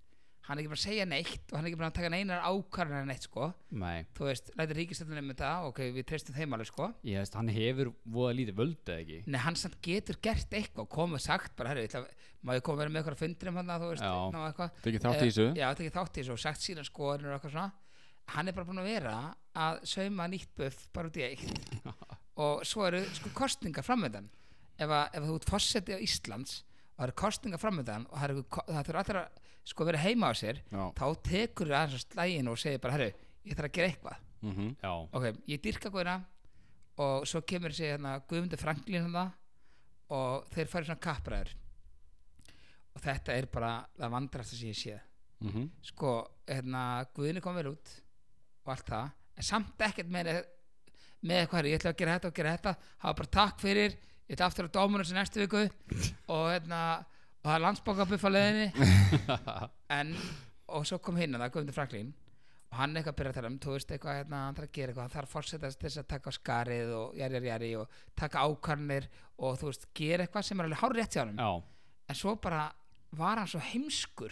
hann er ekki bara að segja neitt og hann er ekki bara að taka neinar ákvarðan neitt sko
Nei,
þú veist, lætur ríkistöldunum um þetta ok, við treystum þeim alveg sko
ég veist, hann hefur voða lítið völd eða ekki
Nei, hann samt getur gert eitthvað komið sagt bara, herri, ég ætla, má ég koma verið með eitthvað fundir um hann þú veist,
Já.
ná eitthvað
Tekið þátt í
Eh,
þessu.
Já, tekið þátt í þessu og sagt sína skoðanir og eitthvað svona hann er bara búin að vera að sauma nýtt buff bara út í eitt og svo eru sko kostninga framöndan ef, að, ef þú ert fórseti á Íslands og það eru kostninga framöndan og það, eru, ko- það þurfa allir að sko vera heima á sér
Já.
þá tekur það aðeins á slægin og segir bara, herri, ég þarf að gera eitthvað
Mm
Já,
ok, ég dyrka guðina og svo kemur þessi hérna Guðmundur Franklin hérna og þeir færi svona kappræður og þetta er bara það vandrasta sem ég sé
-hmm.
sko, hérna, Guðinu kom vel út og allt það, en samt ekkert með, með eitthvað, herri, ég ætla að gera þetta og gera þetta, hafa bara takk fyrir ég ætla aftur á dómunum sem næstu viku og hérna, og það er landsbókabuff á leiðinni en, og svo kom hinn að það, Guðmundur Franklín og hann eitthvað byrja að tala um, þú veist eitthvað hérna, hann þarf að gera eitthvað, hann þarf að forsetast til þess að taka á skarið og jari, jari, jari og taka ákarnir og þú veist, gera eitthvað sem er alveg hár rétt hjá hann,
já,
en svo bara var hann svo heimskur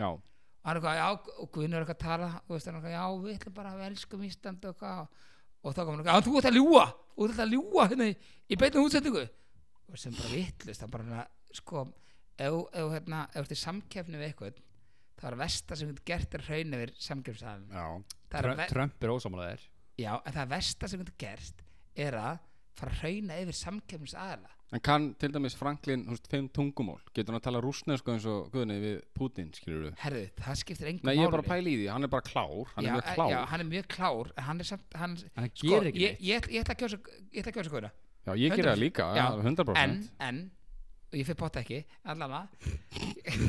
Já,
og hann er eitthvað, já, og Guðnur er eitthvað að tala og veist, hann er eitthvað, já, við ætlum bara að við elskum Ísland og eitthvað, og, og þá kom hann eitthvað, já, þú ert að ljúa, þú ert að ljúa hérna í, í beinu útsendingu og sem bara vitlust, það bara, hérna, sko ef, ef, hérna, ef þú ert í samkefni við eitthvað það er versta sem getur gert er raun yfir samkefnisaðan
já,
Trö- Trump er ósamlega þér
já, en það versta sem getur gert er að fara að rauna yfir samkefnisaðala
En kann til dæmis Franklin, þú veist, fimm tungumól Getur hann að tala rússnesku eins og guðni við Putin, skilur við
herðu, það skiptir engum
Nei, ég er bara að pæla í því, hann er bara klár Hann
já, eh,
er mjög klár
já,
Já,
hann er mjög klár en hann er samt hann,
Hann
sko,
gerir ekki
ég,
neitt.
ég, ætla- ég ætla að kjósa ég ætla að kjósa góðina
ég gerir
100%.
það líka,
Já,
100%
en, en og ég fyrir bóta ekki, allan að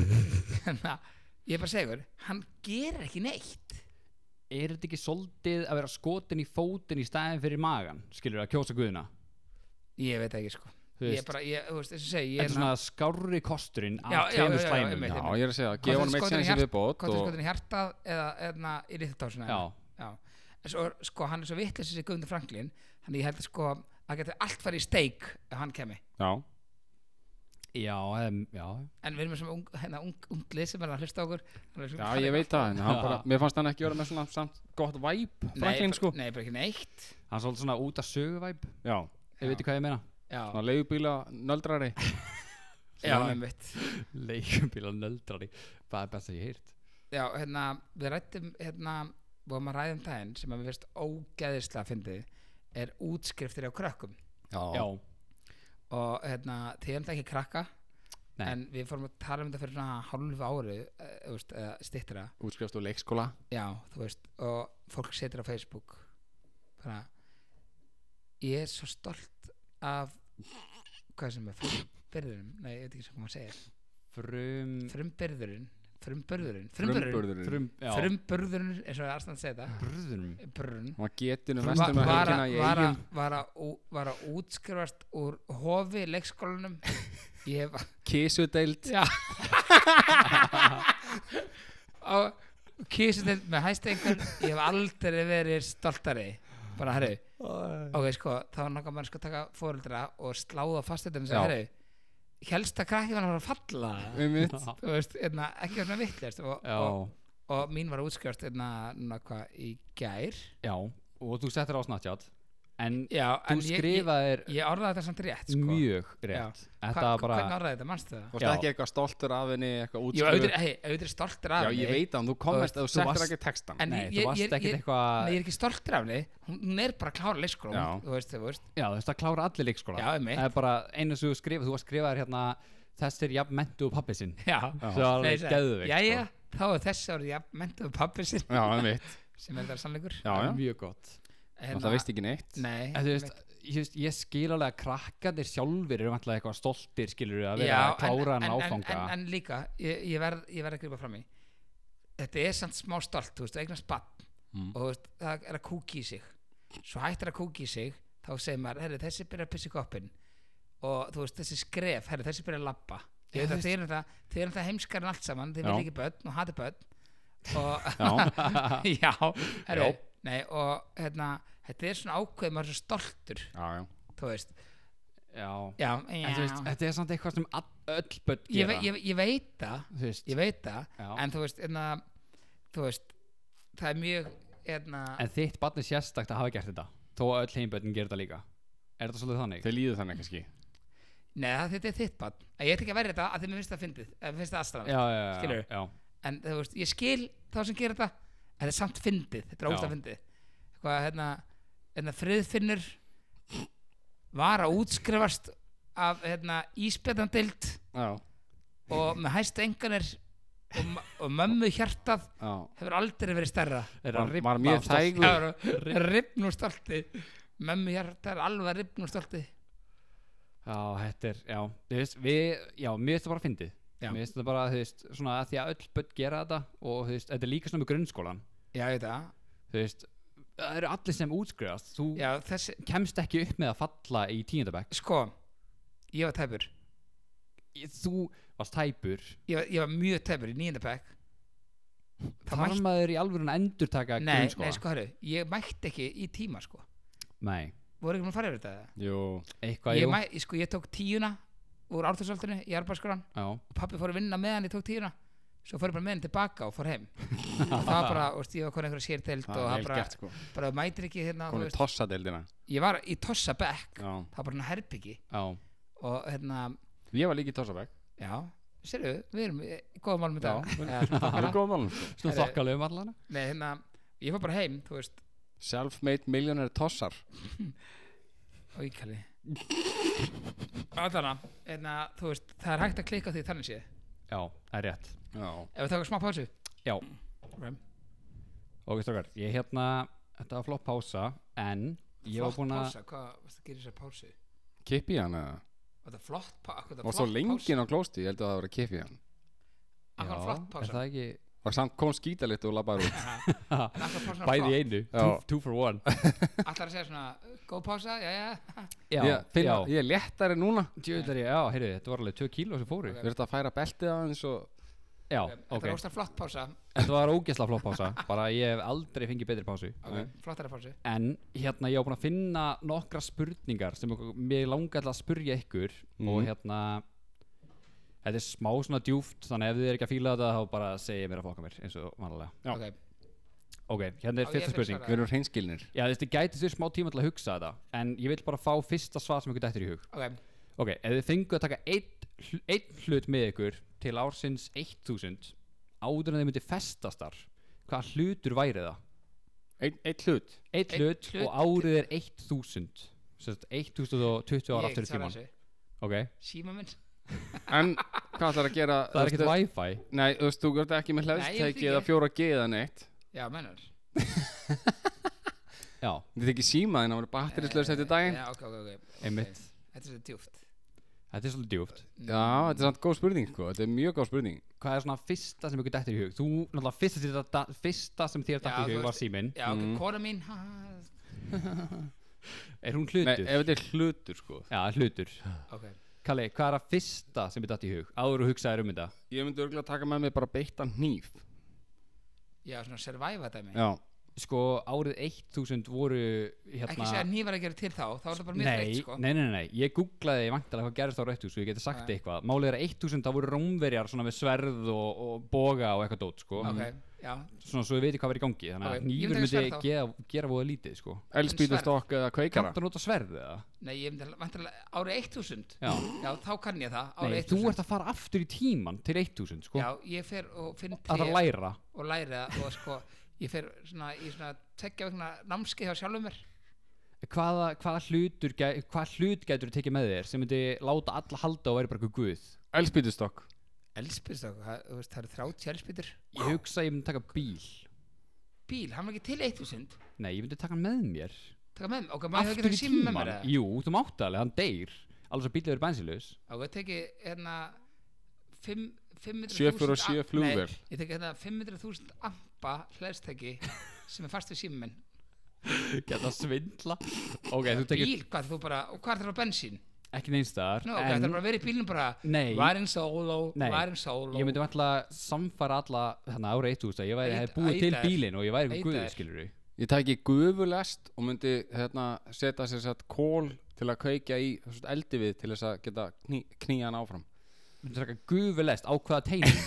ég er bara segur hann gerir ekki neitt
Er þetta ekki soldið að vera skotin í fótin í staðin fyrir magan Skilur að kjósa guðina
ég veit það ekki sko
Þú
ég
veist.
er bara, ég, þú veist, þess að segja
Þetta
ég
er svona skárri kosturinn
Já,
af
já, já,
tveimur
já,
slæmum
einmitt.
Já, ég er að segja, gefa hann meitt sensi við bót
hvort er
og...
skotin í hjartað eða, eða í ríðtásuna
Já.
já. En Svo, er- sko, hann er svo vitlis þessi Guðmundur Franklin þannig ég held að sko að geta allt farið í steik ef hann kemi
Já,
Já, um, já,
en við erum með svona ung, hérna, ung, unglið sem er að hlusta á okkur Hann er
já,
svona-
ég veit það en hann
Já.
bara, Mér fannst hann ekki vera með svona samt gott væp
Nei,
Franklin,
bara-
sko
nei, bara ekki neitt
hann er svolítið svona út af söguvæp
Já,
Ég veit hvað ég meina
já,
svona leigubíla nöldrari
já, einmitt
Leikubíla nöldrari Það er best að ég heyrt
Já, hérna, við rættum hérna, vorum að ræðum daginn sem að mér finnst ógæðislega að fyndið er útskriftir á krökkum
Já,
og hérna, þið erum það ekki krakka
Nei.
en við fórum að tala um þetta fyrir svona hálfu ári eh, þú veist, eða stittra
Útskrifst úr leikskóla
já, þú veist, og fólk setur á Facebook bara ég er svo stolt af hvað sem er frumbyrðurinn, nei, ég veit ekki sem hvað maður segir
frum
frumbyrðurinn, frumbyrðurinn frumbyrðurinn,
Frumbörðurinn
Frum, já
frumbyrðurinn eins og það er aðstæðan að segja
Brðurum
þetta brunn
Hann var getinu
Va-
vestum að
var,
helgina
að,
í
var,
eigum
að, var, að, ú- var að útskrifast úr hofi leikskólanum ég var
Kísudeild
já á kísundin með hæstengun ég hef aldrei verið stoltari bara herru, ok sko þá náttúrulega maður sko að taka fóreldra og sláða fasteitum sem
Já.
herru helst að krakkið var að fara að falla
Um mitt
þú veist, einna, ekki svona vittlist og,
Já,
og, og mín var að útskrifast einna, núna hvað, í gær
já Og þú settir á Snapchat En
já,
þú skrifaðir
ég, ég orðaði þetta samt rétt sko.
mjög rétt Þetta
Hva-
var bara
hvernig orðaði þetta, mannstu það?
Þú
Já.
veist ekki eitthvað stoltur af henni, eitthvað
Ég var
útskrifu
auðvitað, hei, auðvitað stoltur af
Já,
henni
ég veit það, en þú komast að þú
Þú
settir
varst-
ekki textan
En
Nei,
ég,
þú
ég,
varst
ég,
ekkert
ég,
eitthvað-
Nei, ég er ekki stoltur af henni Hún hún er bara að klára leikskólum
Já.
Þú veist, þú veist
Já, þú veist að klára allir leikskóla
Já, einmitt.
Það er bara einu sem þú skrifað Þú var skrifaðir hérna Þessir jafn mentu og pappi sinn
Já,
Það var alveg geðveikt,
Já,
sko.
já, þá er þess árið Já, mentuðu pappi sinn
Já, um mitt
Sem er það sannleikur
Já, já,
Mjög gott
Hérna,
það veist ekki neitt
Nei
En þú veist Ég, veist, ég skil alveg að krakkarnir sjálfur eru vantlega eitthvað stoltir skilur að vera að klára hann áfanga
en, en, en líka, ég, ég verð ég verð að grípa fram í Þetta er samt smá stolt, þú veist, eignast bann
Mm.
og þú veist, það er að kúki í sig svo hættir að kúki í sig þá segir maður, herri, þessi byrja að pissa í koppin og þú veist, þessi skref, herri, þessi byrja að labba
Já,
ég veit
þú
að þið erum það, þið erum það heimskar en allt saman, þið
Já.
vil ekki börn og hati börn og
Já,
já, herri,
Já.
nei og hérna, þetta er svona ákveð maður er svo stoltur,
já, já
þú veist
já,
já,
En, þú veist,
já.
þetta er samt eitthvað sem all- öll börn
Ég,
gera
ve ég, ég veit það
þú veist,
ég veit það,
já.
en þú veist, einna, þú veist það er mjög hérna, einna,
en þitt barn er sérstakt að hafa gert þetta þó að öll heimböldin gerir þetta líka er þetta svolítið þannig?
Þau líðu þannig kannski
neða þetta er þitt bann ég ætla ekki að verja þetta að því mér finnst það fyndið eða mér finnst það aðstæðan
já, já, já,
Skilurðu?
já,
en þú veist, ég skil þá sem gerir þetta en það er samt fyndið, þetta er
Já.
ógsta fyndið eitthvað, hérna, hérna friðfinnur var að útskrifast af hérna, íspjöndandild
Já,
og með hæstu enganir og, ma- og mömmu hjartað
já
hefur aldrei verið stærra
Er að
Var,
rifna
var mjög
af stolt.
þægur
ripn og stolti mömmu hjartað er alveg ripn og stolti
já, þetta er, já, þú veist við, já, mér finnst þetta bara fyndið
Já.
mér finnst þetta bara, þú veist, svona að því að öll börn gera þetta og þú veist, þetta er líka svona með grunnskólan
já, ég veit það
þú veist, það eru allir sem útskrifast þú
já, þessi,
kemst ekki upp með að falla í tíundabæk
sko, ég var tæpur
þú varst tæpur
ég var, ég var mjög tæpur í nýjöndabæk
þar mælt... maður í alvöru en endurtaka
nei,
grunnskóla
nei, sko, herru, ég mætti ekki í tíma, sko
nei,
voru ekki maður að fara yfir þetta eða?
Jú,
eitthvað,
ég,
jú,
mæ, ég, sko, ég tók tíuna úr ártarsöldinu í Arbarskólan
já
og pappi fór að vinna með hann, ég tók tíuna svo fór ég bara með hann tilbaka og fór heim og það var bara, og stífa konið einhverja sérdeild
það
og
er
það
vel
bara,
gert sko
bara þú mætir ekki hérna, þú
Komið
veist,
tossadeildina
ég var í Tossabekk
Já
það var bara hann herbyggi
Já,
og hérna,
Ég var líka í tossabæk
já, sérðu, við erum í góða málum í dag
Já, við-
Eða,
Það
bara-
er góð málum sko
svona
Herri.
þokkalegum allan
nei, hérna, ég fór bara heim, þú veist
Self-made millionaire tossar
og íkali Allana, hérna, þú veist, það er hægt að klikka á því þannig sé ef
Já, það er rétt
Já
við taka smá pásu
Já,
okay.
ok strókar, ég hérna Þetta var flott pása, en Ég var
flott
búin að
pása, hvað varst að gera þessar pásu
Kippi hann eða
var þetta flott pá- akkur þetta
Og svo
flott
lengi
pása
ná klósti, ég held að það var að kippi hann
akkur
Já,
var flott
Er
pása
það ekki
Og samt kom skítalitt og labbaður út
en akkur pása var
bæði í
flott
einu,
Já.
two, two for one
allar að segja svona uh, góð pása já já
Já,
Ég finn
já
að ég er léttari núna
Djöðar ég, já, heyrðu, þetta var alveg 2 kíló sem fóru
Ok.
Við erum að færa beltið aðeins og
Já,
þetta
ok,
var óstar flott pása
þetta var ógæsla flott pása Bara ég hef aldrei fengið betri pásu
okay. flottara pásu
En hérna, ég var búin að finna nokkra spurningar sem okkur- mér langar til að spurja ykkur og hérna Þetta er smá svona djúft, þannig ef þið er ekki að fíla þetta þá bara segja mér að fokka mér eins og vanlega
Já.
ok
Ok,
Á,
hérna er
ég
fyrsta
fyrir
spurning
svara.
við erum hreinskilnir
Já, þetta gæti sér smá tíma til að hugsa þetta En ég vil bara fá fyrsta svar sem ykkur dættir í hug
ok
Ok, ef þið fengu að taka einn, hl- einn hlut með ykkur Til ársins 1000 Áður en þið myndi festast þar Hvaða hlutur væri það?
Einn ein hlut
Einn
Einn
hlut,
hlut.
og árið er 1000 Sérst 1020
ég
ára aftur
svara
í tíman
þessu
Ok,
síma minn
En hvað ætlar að gera
það er ekkert
veistu-
wifi
Nei, þú veist, þú ert
ég
ekki með
veit
hlæðstæki
ekki.
eða fjóra G eða neitt
já mennar
Já,
Þetta er ekki símaðin, það var batterislaus eftir daginn
já ok ok ok
einmitt
þetta er svo djúft
Þetta er svolítið djúft
Já, þetta er samt góð spurning, sko, þetta er mjög góð spurning
Hvað er svona fyrsta sem ykkur dættir í hug? Þú, náttúrulega fyrsta, sem þér datt- fyrsta sem þér
Já,
dættir í
þú
hug var
veist-
síminn
já ok kona mín ha, ha,
Er hún
Nei,
hlutur?
ef þetta er hlutur, sko
Já, hlutur
ok
Kalli, hvað er að fyrsta sem við datt í hug? Áður og hugsaðir um þetta
Ég myndi örgulega taka með mig bara beittan hníf
já svona survive dæmi
Já,
Sko, árið 1000 voru hérna...
ekki segja nývar að gera til þá þá er það bara mjög
nei,
reitt sko
nei, nei, nei, ég googlaði vantilega hvað gerist á réttu Svo ég geti sagt
Nei.
eitthvað Málið er að 1000, það voru rómverjar svona með sverð og, og boga og eitthvað dót sko.
ok já
Svona svo við veitum hvað verið í gangi Þannig
Ok,
að
ég myndi
nýfur
taka
myndi
sverð þá.
gera, gera voða lítið sko.
elspýtustokk eða kveikara
Kanntu að nota sverð eða?
nei ég myndi vantilega árið 1000
Já
já þá kann ég það
Nei,
árið
þú
1000
ert að fara aftur í tíman til 1000 sko.
já ég fer og finn
Að
tré-
það læra
og læri það og sko ég fer svona í svona tekja vegna námski hjá sjálfum mér
Hvaða, hvaða, hlutur, gæ- hvaða hlut gætur þú tekið með þér sem myndi láta alla halda og væri bara eitthvað guð
Elspýtustokk
elspýrstak, það það eru 30 elspýtur
Ég hugsa að ég myndi taka bíl
bíl, hann var ekki til 1000
Nei, ég myndi taka hann með mér
taka með mér, ok, maður hefur
Aftur
ekki
í
síma með
tíman
mér eða?
Jú, þú mátt alveg, hann deyr Alveg svo bílið er bensinlaus
ok, ég teki hérna fimm- 500.000
747
amp-
flugvél.
nei, ég teki hérna 500.000 ampa hlæðstæki sem er fast við síma minn
Geta svindla Ok, þú tekir
bíl, hvað þú bara, og hvað er það á bensín
ekki neinstar
Nú, ok, það er
En
bara að vera í bílnum bara
Nei.
værin solo,
Nei.
værin solo
ég myndi alltaf samfara alla Þannig ára eitt úr að ég væri
Eitt-
hef búið til
eitar.
bílinn Og ég væri
Eitar.
eitthvað guð, skilur við
Ég tæki gufulest og myndi hérna, setja sér satt kól til að kveikja í þú veist, eldi við til þess að geta kný, knýja hann áfram
myndir taka gufulest á hvaða tegning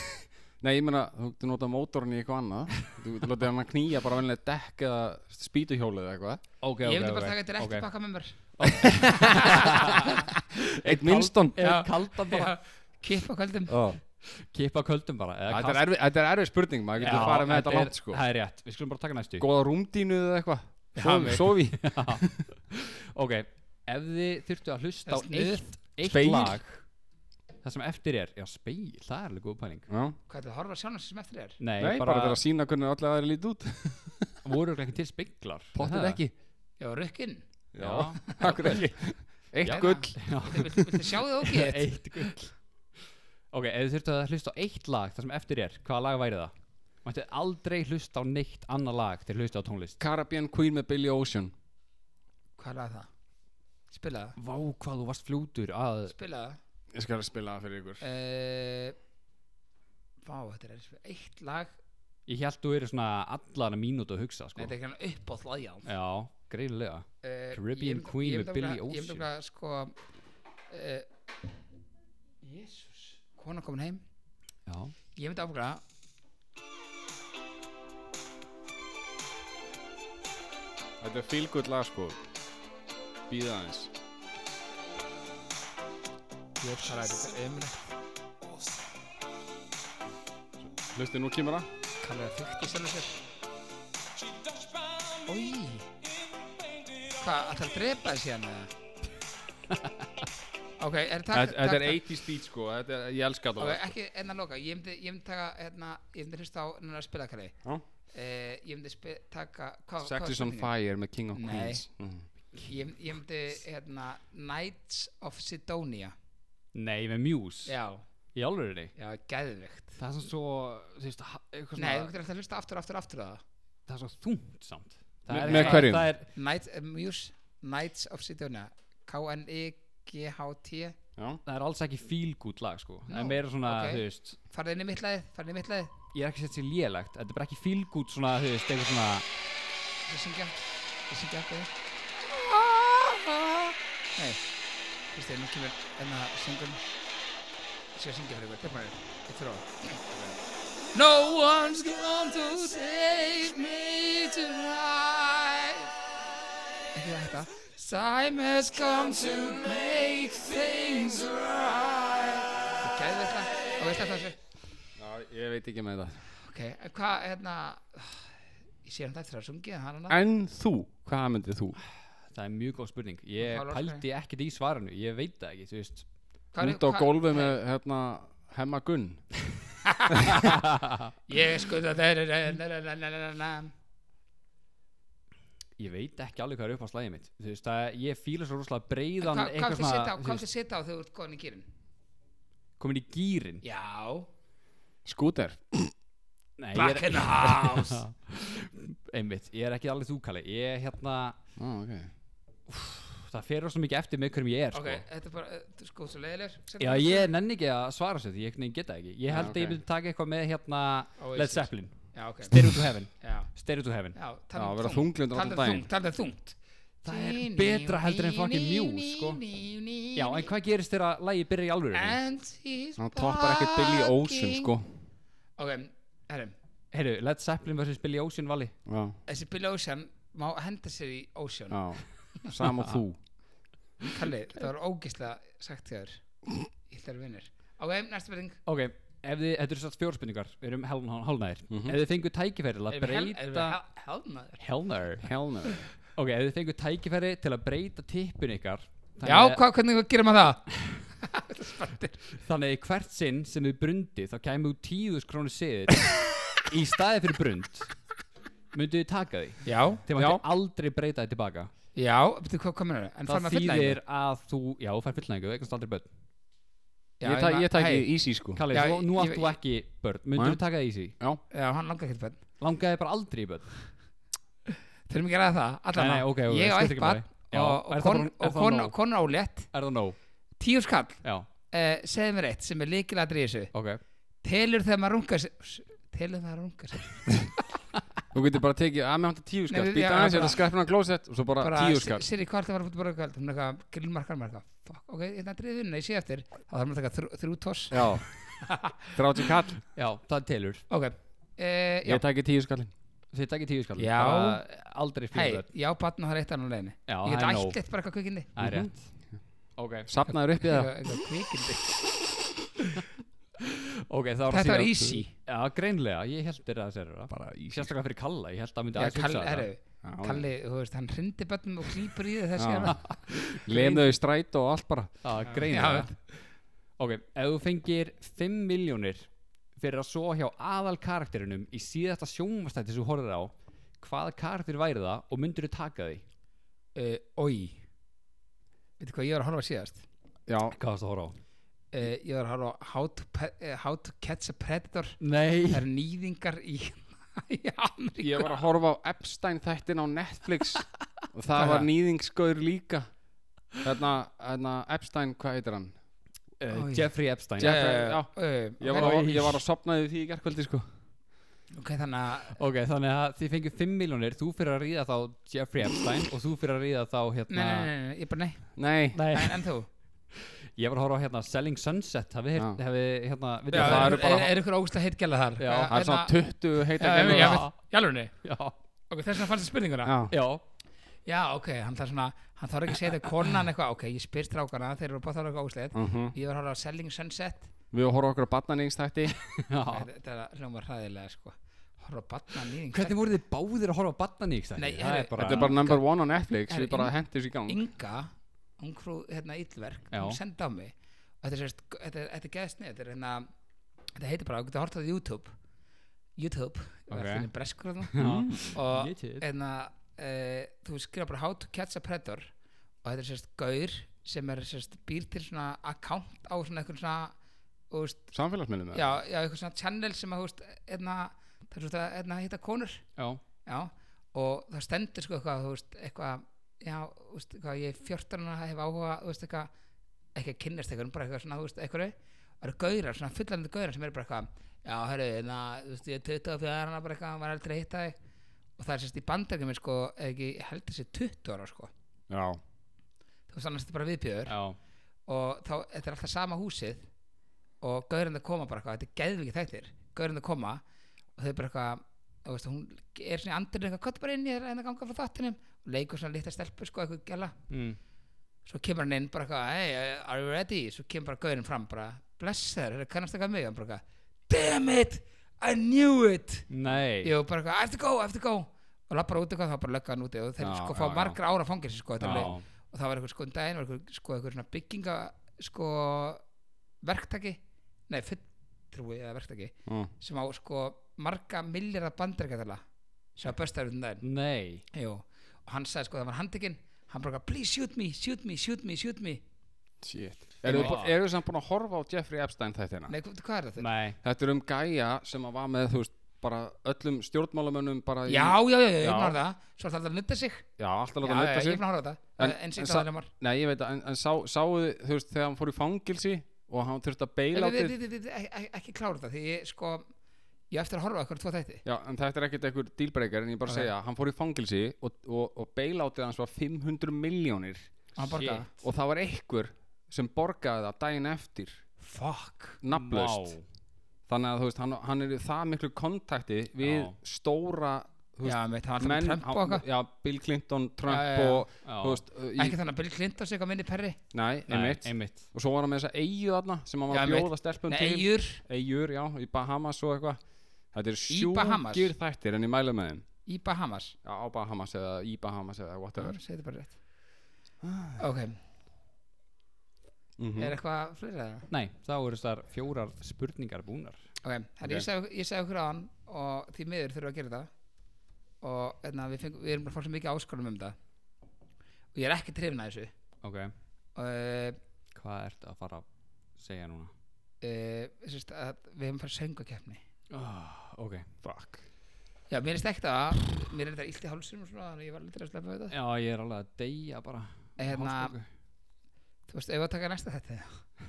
Nei, ég meina, þú getur notað mótorinn í eitthvað annað Þú getur lotið hann að knýja bara venlega dekk eða spýtuhjólið eða eitthvað
ok,
Ég
ok,
myndi
ok,
bara taka þetta
ok.
ekki bakka með mér
Eitt minnstón
Eða
Já.
kalda bara
Kippa kvöldum
Þetta
Kippa köldum bara eða
er
kast-
erfið- þetta er erfið spurning, maður
Já,
getur farið með þetta
er-
langt sko
Það er rétt, við skulum bara taka næstu
Góða rúmdínu eða eitthvað
Já,
Sofi-
mig.
Sofi
Ok, ef þið þurftu að hlusta á
Það er sniðugt.
eitt, eitt
Spegil.
lag Það sem eftir er, já speil, það er alveg góð pæling
Já.
Hvað er það að horfa sjálfum sem eftir er?
Nei,
Nei, bara til að sína hvernig allir aðeins lítið út
voru ekki til speiklar
Pottet ekki
Já, rökkinn
Já,
Akkur Eitt
Já.
gull
já
Viltu viltu sjá þið ógið?
Eitt gull Ok, ef þið þurftu að hlusta á eitt lag, það sem eftir er, hvaða lag væri það? Mættu aldrei hlusta á neitt annað lag til hlusta á tónlist
Caribbean Queen með Billy Ocean
Hvað er það? Spila það
Vá, hvað þú varst fljótur að
Spila það
Ég skal spila það fyrir ykkur
Eh, Vá, þetta er eitt lag
Ég held þú eru svona allan að mínútu að hugsa
Nei,
sko.
þetta er ekki hann upp á þlægjá
Já, greinilega
Eh,
Caribbean
ég myndi-
Queen
ég
með
myndi
Billy
nefnilega- Ég
Ocean.
myndi að sko uh, Jésús Kona komin heim
Já
Ég myndi áfram
Þetta er feel good lag sko Býða aðeins
Ég veit hvað er þetta ömulegt
Hlusti, nú kemur það
Kallar það fyrkt í sjálfum sér Ói Hvað, ætlar að drepa þessi hann eða? Ok, er það
Þetta er 80s beat sko þetta er, Ég elska
Ok,
þetta lag.
ekki enn að loka Ég myndi, ég myndi taka, hérna Ég myndi hlusta á núna spilakari
Já.
eh, Ég myndi spi, taka hva,
Sex is on fire með King of
Nei.
Queens Mm.
ég, ég myndi, hérna Knights of Sidonia
Nei, með Muse
Já,
Í alveg
já, geðveikt
Það er svona svo, þú veist, ha- eitthvað
Nei, þú
svona
getur alltaf að hlusta aftur, aftur, aftur á það
Það er svo þungt samt Það
Me-
er-
með
það-
hverjum?
Það er,
Knights, uh, Muse, Knights of Sidonia E K-N-E-G-H-T
Já.
það er alls ekki feel good lag sko Það
Nú,
er meira svona,
ok.
þú veist
farið inn í mitt lagið, farið inn í mitt lagið
Ég er ekki sett sér lélegt Þetta er bara ekki feel good svona, þú veist, eitthvað svona
ég syngja, ég syngja eftir þér nei, þú veist þér, nú kemur enna syngun ég skal syngja fyrir ykkur, tilbæðið, ég þró No one's come to save me tonight Ekki það hætta Time has come to make things right Þú gæði þetta og veist þetta þessu
Já, ég veit ekki með það
Ok, en hvað, hérna Ég sé hann þetta eftir að sungið hann hann
En þú, hvað myndið þú?
Það er mjög góð spurning Ég
Hvað var orðið?
pældi ekkert í svarinu Ég veit það ekki, þú veist
Hvað er-
Út á
hvað-
gólfið með hérna Hemma Gunn
Ég sko, skuta þeir Ég
Ég veit ekki alveg hvað er upp á slæðið mitt Þú veist, það, er- ég fíla svo rosalega breiðan
Hvað
eitthvað
hvað þið sita á,
þú
hvað
veist,
þið sita á þegar þú ert komin í kýrin
Komin í gýrin
Já
Skúter
Nei, ég
Back
er, Sko.
in the house
einmitt, ég er ekki alveg þú kalli Ég, hérna,
Já, ok
það fer rosa mikið eftir með hverjum ég er
Ok,
sko.
þetta er bara, eh, þú sko, svo leiðilegur Sem
Já,
þú-
ég nenni ekki að svara sér því ég einhvern veginn geta ekki Ég
Já,
held að ég
ok.
myndi taka eitthvað með hérna
Oasis.
Led Zeppelin,
Já, ok
Stereo to Heaven
Já,
Stereo to Heaven
já,
Já,
tala um
vera
þungt.
þunglyndur
Tala
allan
um
daginn.
þungt, tala um þungt
Það er betra heldur en fucking Muse, sko. Já, en hvað gerist þegar að lagi byrja í alvöru?
And he's
Hann toppar ekkert Billy Ocean
barking.
sko
Ok, herrum
Heyrðu, Led Zeppelin versus Billy Ocean vali
Já,
Þessi Billy Ocean má henda sér í Ocean
já Sam og þú
Kalli, það var ógeðslega sagt þér Ítlar vinnur Ok, næsta byrðing
Ok, ef þið, þetta eru satt fjórspinningar Við erum hálnaðir
Mhm.
Ef þið fengu tækifæri til að breyta
Helmaður
Hálnaðir
Hell no
Ok, ef þið fengu tækifæri til að breyta tippun ykkar
Já, hvað, hvernig gerir maður það?
Þannig að í hvert sinn sem þið brundi þá kæmi út tíðus krónu siðir í staði fyrir brund myndið þið taka því
Já,
þið mætti aldrei breyta þið tilbaka
já, betur hvað komur það? En fann
það
maður fullnæðingu?
þýðir að þú, já, þú fær fullnæðingu eignast aldrei börn
Já,
Ég, ta
ma-
ég taki
hey,
easy sko
Kalli,
Já,
þú, nú
ég-
átt þú
ég-
ekki börn myndir
Nei.
þú taka því í því
Já,
Já, hann langar ekkert bönn
langaði þið bara aldrei í börn
Þurfum ekki að ræða það, allan
Nei, nei, ok, ok,
Ég á
skiptir
eitt
ekki
barn
máli. Já,
og,
er
og,
það
kon,
bara- er
og
það
kon,
nóg?
kon álétt
er það nóg?
Tíu skall,
já,
uh, segðu mér eitt sem er líkilega í þessu
ok
Telur þegar maður rungar sér Telur þegar maður rungar sér
Þú getur bara tekið, að mér vantar tíu skatt
Nei,
Býta
já,
aðeins,
bara-
ég ætla að skreppin á klósett Og svo bara
bara,
tíu skatt
Siri, hvað ertu að fara að fótbolta í kvöld? Hún er eitthvað, grillmarkar mér eitthvað, fuck, ok, hérna driðið vinna, ég sé eftir, þá þarf maður að taka þrjú, þrjú toss.
Já 30 kall,
Já, það telur
Ok, e, já,
ég tæki tíu skallin
Þið takkir tíu skall
Já.
Aldrei
hei,
fyrir
já, batn og það er eitt annan leiðinni.
Já,
Ég get
það er nóg.
ætt eitt bara eitthvað kvikindi.
Það er rétt
Mhm.
Ok,
Safnaður upp í það
Eitthvað eitthvað kvikindi.
okay það
Þetta var easy.
Já, greinlega, ég held þér að sér það
Bara sko. í
Sérstaklega fyrir Kalla, ég held að hann myndi
Já,
aðeins
Kalli,
hugsa
herru,
þetta.
Já, já.
Kalli, þú veist, hann hrindi bönnum og klýpur í þið þessi
Já.
hérna.
Lemðu í stræt og allt bara
Já,
Já,
greinlega Ok, ef þú fengir 5 miljónir fyrir að svo hjá aðal karakterinum í síðasta sjónvastætti sem þú horfir á hvaða karakter væri það og myndir þú taka því?
Uh, Ói, veitu hvað ég var að horfa á síðast?
Já,
Hvað varst að horfa á?
Uh, ég var að horfa á How to, Pe- eh, How to Catch a Predator.
Nei
Það eru nýðingar í, í Ameríku.
ég var að horfa á Epstein þættin á Netflix
Hvað
Og
er
það var
það?
nýðingsgaur líka Þarna, þarna Epstein, hvað heitir hann?
oh,
Oj.
eh, Jeffrey Epstein
Jeff-
Já,
Já.
eh,
Ég var, að, ég var að sopnaði því í gerkvöldi sko
Ok, þannig að
Ok, þannig að þið fengið 5 miljónir þú fyrir að ríða þá Jeffrey Epstein og þú fyrir að ríða þá
Nei,
hérna
nei, nei, nei, ég bara nei,
Nei,
en, en þú
Ég var að horfa á hérna Selling Sunset hafið
Já.
heyrt- hafið hérna vitið
Já,
þið
það
er,
eru bara-
er, er ykkur ógust að heitgjala þar hérna-
Já,
það er svona 20 heita
Já,
gælur
já,
á-
veit- Jálfurni,
Já,
ok, þess vegna fannst þér spurninguna
Já.
já,
Já, ok, hann þarf svona Hann þarf ekki að segja þetta konan eitthvað Ok, ég spyr strákana, þeir eru bátt að vera ógustlega
Mhm.
Ég var að horfa á Selling Sunset
Við horfum okkur á barnaningstætti
já.
Þetta þetta er hljómar hræðilega, sko Horfa á batna nýðing
Hvernig voru þið báðir að horfa á Batnaník?
Nei,
það
heyrðu,
er bara,
Þetta er bara number one á Netflix
Herri,
Við bara
inn-
hentum þessu í gang
Inga, hún krú, hérna, illverk
Já.
Hún sendi á mig Og Þetta er, sérst, þetta, er- þetta er geðst neð Þetta er hérna, þetta heitir bara, þú getur að horta á YouTube YouTube,
Ok.
það finnir breskur þarna
Já.
og
YouTube.
en að e, þú skrifa bara how to catch a predator og þetta er sérst gaur sem er sérst býr til svona account á svona eitthvað svona þú veist,
Samfélagsmiðlum eða?
já, já, eitthvað svona channel sem að þú veist, einna, það er svona einna hitta konur
Já.
já, og það stendur sko eitthvað, þú veist, eitthvað já, þú veist, eitthvað, ég er 14 að hef áhuga, þú veist, eitthvað ekki að kynnast eitthvað, bara eitthvað svona, þú veist, eitthvað það eru gaurar, svona fullanandi gaurar sem eru bara eitthvað já, herru, hérna, þú veist, ég er 24 ára bara eitthvað, var aldrei að hitta þig og það er sérst í bandökjum, sko, eða ekki ég held þessi 20 ára, sko
já
þú veist, annars er þetta bara viðbjöður
Já.
og þá, þetta er alltaf sama húsið og gaurandi koma bara eitthvað, þetta er geðvikið þættir gaurandi koma og þau bara eitthvað þú veist, hún er svona í andurinn eitthvað, hvað bara inn í þér en að ganga frá þáttinum og leikur svona lítið stelpu, sko, eitthvað gæla
Mm.
svo kemur hann inn bara eitthvað, hey, are you ready? Svo kemur bara gaurinn fram, bara, bless þér, er það kannast eitthvað mig? Hann bara eitthvað, damn it, I knew it!
Nei
Jú, bara eitthvað, I have to go, I have to go! Og lapp bara út eitthvað, þá bara lögga hann úti og þeir
Já,
sko
já,
fá
já.
margra ára fangir sko, þetta er
Já.
alveg- og það var eitthvað sko um daginn, var eitthvað sko eitthvað svona bygginga, sko, verktaki, nei, fulltrúi eða verktaki,
Mm.
sem á sko marga milljarða bandaríkjadala sem að börstaður út um daginn.
Nei
Jú, og hann sagði sko, það var handtekinn, hann bara eitthvað, please shoot me, shoot me, shoot me, shoot me.
Shit Eru
Já.
þið er samt búin að horfa á Jeffrey Epstein þættina?
Nei, hvað hvað er það þurr?
Nei
Þetta er um gæja sem að var með þú veist bara öllum stjórnmálamönnum bara
Já,
í,
já, já, já, ég er
Já.
búin að horfa á það Svo er það alltaf að nutta sig
já
Já,
alltaf láta
já,
nutta
ég er
sig
búin að horfa á það
En-
En, en
en
sýnt
sa-
að það var
Nei, ég veit að, en, en sá, sáu þið, þú veist, þegar hann fór í fangelsi og hann þurfti að
En
beila
við-
til
við- við- við- ek- ek- Ekki klára það, því ég sko Ég á eftir að horfa okkur tvo þætti
Já, en þetta er ekkert einhver dealbreaker en ég bara
Ok.
segja, hann fór í fangelsi og, og, og beilátið hans var 500 miljónir
Og hann borgaði það.
og það var einhver sem borgaði það daginn eftir
Fuck
nafnlaust
Vá.
þannig að þú veist, hann, hann er í það miklu kontakti við
Já.
stóra þú
Já,
veist,
mitt, hann var alltaf með Trump og
á-
eitthvað
já, Bill Clinton, Trump
Já, já, já.
og
Já.
þú veist, uh,
Ekki þannig að Bill Clinton sé eitthvað minni perri
nei,
Nei,
einmitt
Einmitt
og svo var hann með þessa eigu þarna sem hann var
Já,
að
einmitt.
bjóða stelpum
Nei,
til
eigur
eigur, já, í Bahamas og eitthvað þetta er
Bahamas?
sjúkir þættir en ég mæla með þeim
í Bahamas
já, á Bahamas eða í Bahamas eða
Já,
whatever
Segðu þetta bara rétt Ok,
mm
Mm-hmm. er eitthvað fleira það?
Nei, þá eru þessar fjórar spurningar búnar
Ok, þannig ég sagði- ég sagði okkur á hann og því miður þurfum við að gera það og hérna, við, fengum, við erum bara fólk sem mikið áskonum um það og ég er ekki trefnað þessu
Ok
og uh,
Hvað ertu að fara að segja núna?
uh, sérst, að við hefum farið söngakefni
Ah,
Oh, ok
fuck
já, mér er stækt að mér er þetta illt í hálsum og svona þannig að ég var litur að sleppa við
Já, ég er alveg að deyja bara
þetta hérna,
Hálsbólgu.
þú veist, ef við að taka næsta þetta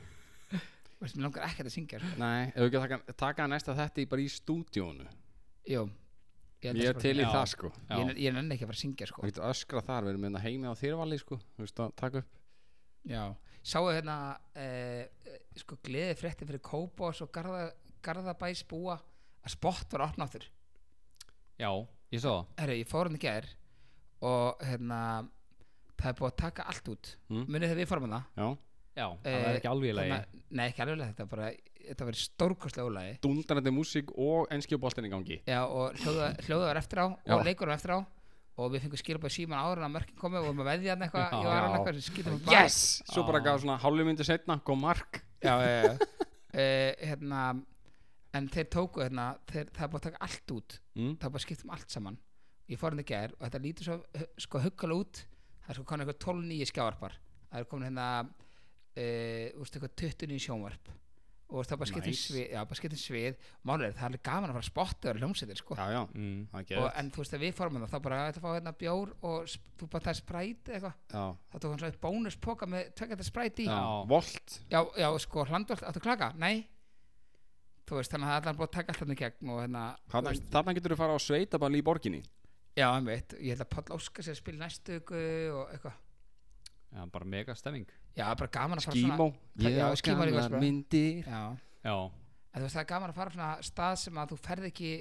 þú veist, mér langar ekkert að syngja sko.
nei, ef við ekki að taka, taka næsta þetta í bara í stúdíónu
jú, ég, held
Ég
að
er til í
Já.
það sko
Já.
ég, ég nenni ekki að fara að syngja
Og
sko
getur öskra þar, við erum með heimi á þýrvali sko Þú veist að taka upp
já, sáu hérna eh, eh, sko gleði frétti fyrir Kópás og Garða, Garðabæs búa að spott var opnáður
Já, ég svo
herru, ég fór hann í gær og hérna það er búið að taka allt út
Mm.
munið þegar við fórum hana
Já,
Já,
Eh,
það er ekki alveg í lagi
nei, ekki alveg í lagi, þetta var bara þetta var stórkostlega úlagi
dundarandi músík og enskjöboltin í gangi
Já, og hljóða, hljóða var eftir á og
Já.
leikur var eftir á og við fengum skilabæði síman ára en að mörkin komi og við varum að veðja hann eitthvað
Já.
ég var hann eitthvað sem skýtum um
Yes! Svo bara
Já.
gaf svona hálfu myndi setna, kom mark
já, já, já. Eh, hérna, en þeir tóku hérna, þeir, það er búið að taka allt út
mm.
það er búið að skipta um allt saman ég fór hann í gær og þetta lítur svo hu- sko huggalega út það er sko konar eitthvað 12 nýju skjávarpar það er komin hérna uh, úrst eitthvað 20 nýju sjónvarp og það er bara skipta um
Nice.
svið, já, bara skipta um svið málega það er alveg gaman að fara að spotta og hljómsveitir sko
Já, já,
mm.
það er
og,
geðvægt.
en þú veist að við fórum það þá bara ætla að fá hérna bjór og sp- þú bara það er spræt eitthvað
Já,
þá tók hann svo eitt bónuspoka með tvekja þetta spræt í
já,
já.
volt
já, sko, hlandvöld, áttu að klaka? Nei þú veist, þannig að það er allan búið að taka alltaf í gegn og hérna,
Þarna þarna getur þú fara á sveitaball í borginni
já, einmitt ég held að Páll Óskar sér að spila í næstu viku og eitthvað,
Já, bara mega stemming
já, bara gaman að fara
Skímó
Já,
Ég á
skímó líka,
gamlar
sko.
myndir
svona já,
Já,
en þú veist, það er gaman að fara á svona stað sem að þú ferð ekki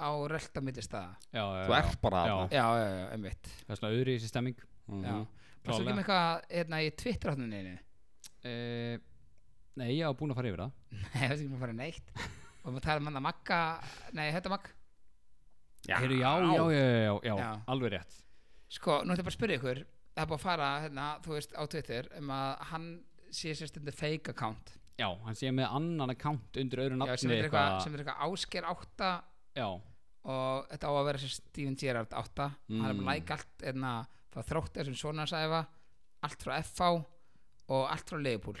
á rölda milli staða
já, já
Þú ert bara
Já.
þarna.
já, já, já, einmitt
Það er svona öðru í þessi stemming
já,
Mhm.
og svo
Klárlega.
kemur eitthvað, hérna, í Twitter áttuninu
uh, Nei, ég á búin að fara yfir það
Nei, það er ekki maður að fara neitt Og maður tala um hann að Magga Nei, þetta Magg
Já.
Heyrðu, já, já, já, já, já, já,
Já.
alveg rétt
Sko, nú ætla bara að spyrja ykkur Það er búið að fara, hérna, þú veist, á Twitter Um að hann sé sér stundu fake account
Já, hann sé með annan account undir öðru
Já,
nafni
sem er eitthvað, sem er eitthvað ásker 8
Já,
Og þetta á að vera sér Steven Gerrard 8 Hann er búin að læka allt, hérna Frá þróttir sem svona sæfa Allt frá FH og allt frá Leifbúl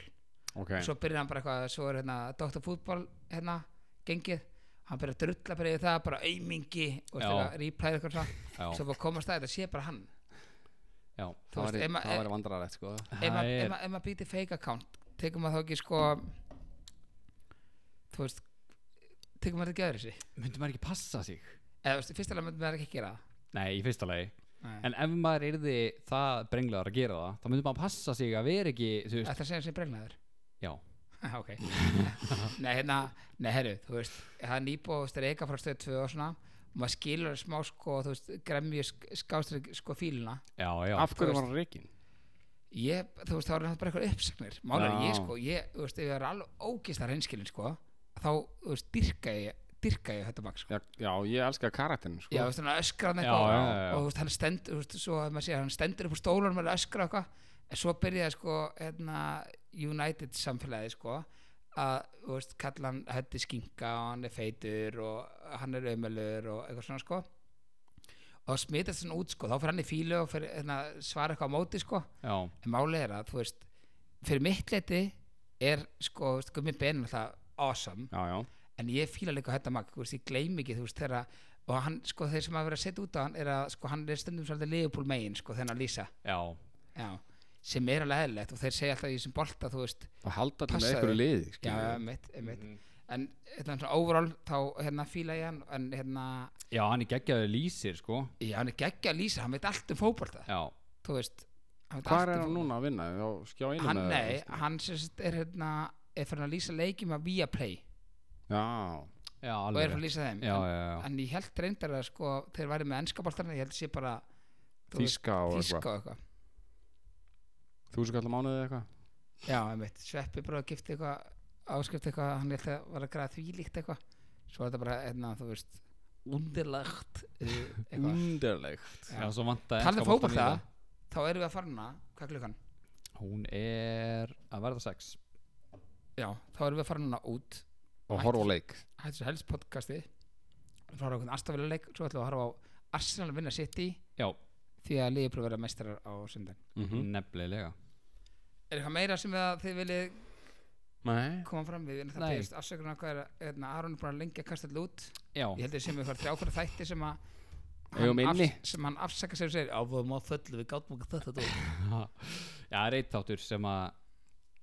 Ok,
Svo byrjar hann bara eitthvað Svo er hérna Dr. Fútbol, hérna, gengið Hann byrjar að drulla bara yfir það, bara aumingi og
Já.
eitthvað, replayir eitthvað svo
já,
svo bara komast að þetta sé bara hann
já
þú
það
veist,
væri-
ef ma-
það væri vandrarætt sko
ef
Það
maður- ef
er,
maður- ef maður býtir fake account tekum maður þá ekki sko þú veist tekum maður þetta ekki öðru sig
myndi maður ekki passa sig
eða þú veist, fyrst alveg myndum maður ekki gera það
Nei, í fyrsta lagi
Nei.
En ef maður yrði það brenglaður að gera það þá myndi maður passa sig að vera ekki þú veist,
þetta segja sem bregnaður
Já,
Ah, ok nei, hérna, nei, herru, þú veist það er nýbúið reyka frá stöð 2 og svona og maður skilur smá sko þú veist, gremju skástur sko fíluna
já, já
Af
þú
hverju var hann reikin?
ég, þú veist, þá er það bara eitthvað uppsagnir málega
Já.
ég sko, ég, þú veist, ef ég er alveg ógist að reynskilin sko þá, þú veist, dyrka ég, dyrka ég þetta bak sko.
Já, já, ég elska karakterinn sko
Já, þú veist, hann öskrar hann
Já,
eitthvað
já, já, já.
og þú veist, hann stendur, þú veist, svo að maður sé hann stendur upp úr stólunum og öskrar eitthvað en svo byrjaði sko, hérna United samfélagi sko að, þú veist, kalla hann hætti skinka og hann er feitur og hann er ömulur og eitthvað svona sko og það smitast svona út sko, þá fyrir hann í fílu og fyrir, hérna, svara eitthvað á móti sko
Já,
en málið er að, þú veist, fyrir mitt leti er sko, þú veist, gummi benin alltaf awesome
Já, já,
en ég fíla líka þetta mag, þú veist, ég gleym ekki þú veist, þegar að, og hann, sko, þeir sem að vera að setja út á hann er að, sko, hann er stundum svolítið liðupúl megin, sko, þennan lýsa
já,
já, sem er alveg eðlilegt og þeir segja alltaf í þessum bolta, þú veist,
og halda allir með
Passaðu.
einhverju liði
já,
skilurðu.
mitt,
Mhm.
mitt en, hérna, svona overall, þá, hérna, fíla ég hann en, hérna,
já, hann er geggjaður lýsir, sko
já, hann er geggja að lýsa hann veit allt um fótbolta,
Já,
þú veist hann veit
Hvar
allt
er
um
hann
fótbolta.
núna að vinna? Já, skjá einu
hann,
með
nei, hann sérst, er, hérna, er fyrir að lýsa leikjum að via play
Já,
já,
og
alveg
er fyrir að
rétt.
lýsa þeim
Já,
en,
já, já,
en ég held reyndar að, sko, þeir væri með ennska boltarna, ég held sé bara þú veist,
þýska og
Þíska
eitthvað
og eitthvað
Þú sem kallar mánuðið eitthvað
Já, einmitt, Sveppi bróði gifti eitthvað áskrift eitthvað, hann held að var að græða því líkt eitthvað svo er þetta bara, einna, þú veist undirlagt eh,
Mm.
eitthvað
Underlegt
já, svo vantaði
Talandi
enska
um
boltann í
fótbolta,
það.
þá erum við að fara hana hvað er klukkan?
Hún er að verða sex
Já, þá erum við að fara hana út
Og horfa á leik
hættu þessu helst podcasti frá okkur aðstaféluleik, svo ætlum við að horfa á Arsenal vinna City
Já,
því að liðbróð verða meistarar á sundan
Mhm.
nefnilega
Er eitthvað meira sem við að þið viljið
Nei
koma fram við? Við erum
Nei.
það byrjast afsökunar hvað er að hérna, Aron er búin að lengja kastall út
Já,
ég held að sem eitthvað þrjáfæra þætti sem að
Eigum
hann
inni.
afs- sem hann afsaka sér og segir á við má þöllu við gátum okkur þetta dó
já, það er einn þáttur sem að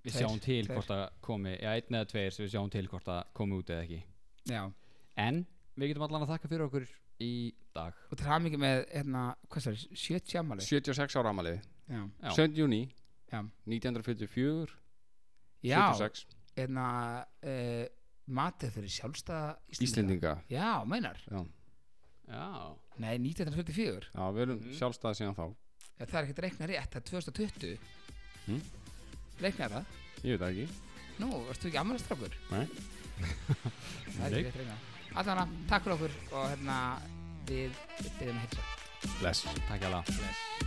við
Tveir,
sjáum til
tveir.
hvort að komi Já, einn eða tveir sem við sjáum til hvort að komi út eða ekki
já,
En við getum allan að þakka fyrir okkur í dag
og til hamingi með hérna, hvað sér, 70 ammali
76 ára amaliði
já,
Já.
7. júni
já,
1944
já
76
hérna uh, matið fyrir sjálfstæða Íslendinga.
Íslendinga
já, meinar,
Já,
Já,
nei 1944
já við erum
Mhm.
sjálfstæði síðan þá
Já, það er ekkert reikna rétt, það er 2020
Hmm?
reikna það
Ég veit það ekki
nú, varstu ekki ammælistrákur
Nei.
það er
Nei.
ekki rétt reikna allan að, takk fyrir okkur og hérna við byrjum að heilsa
Bless
takk alveg
bless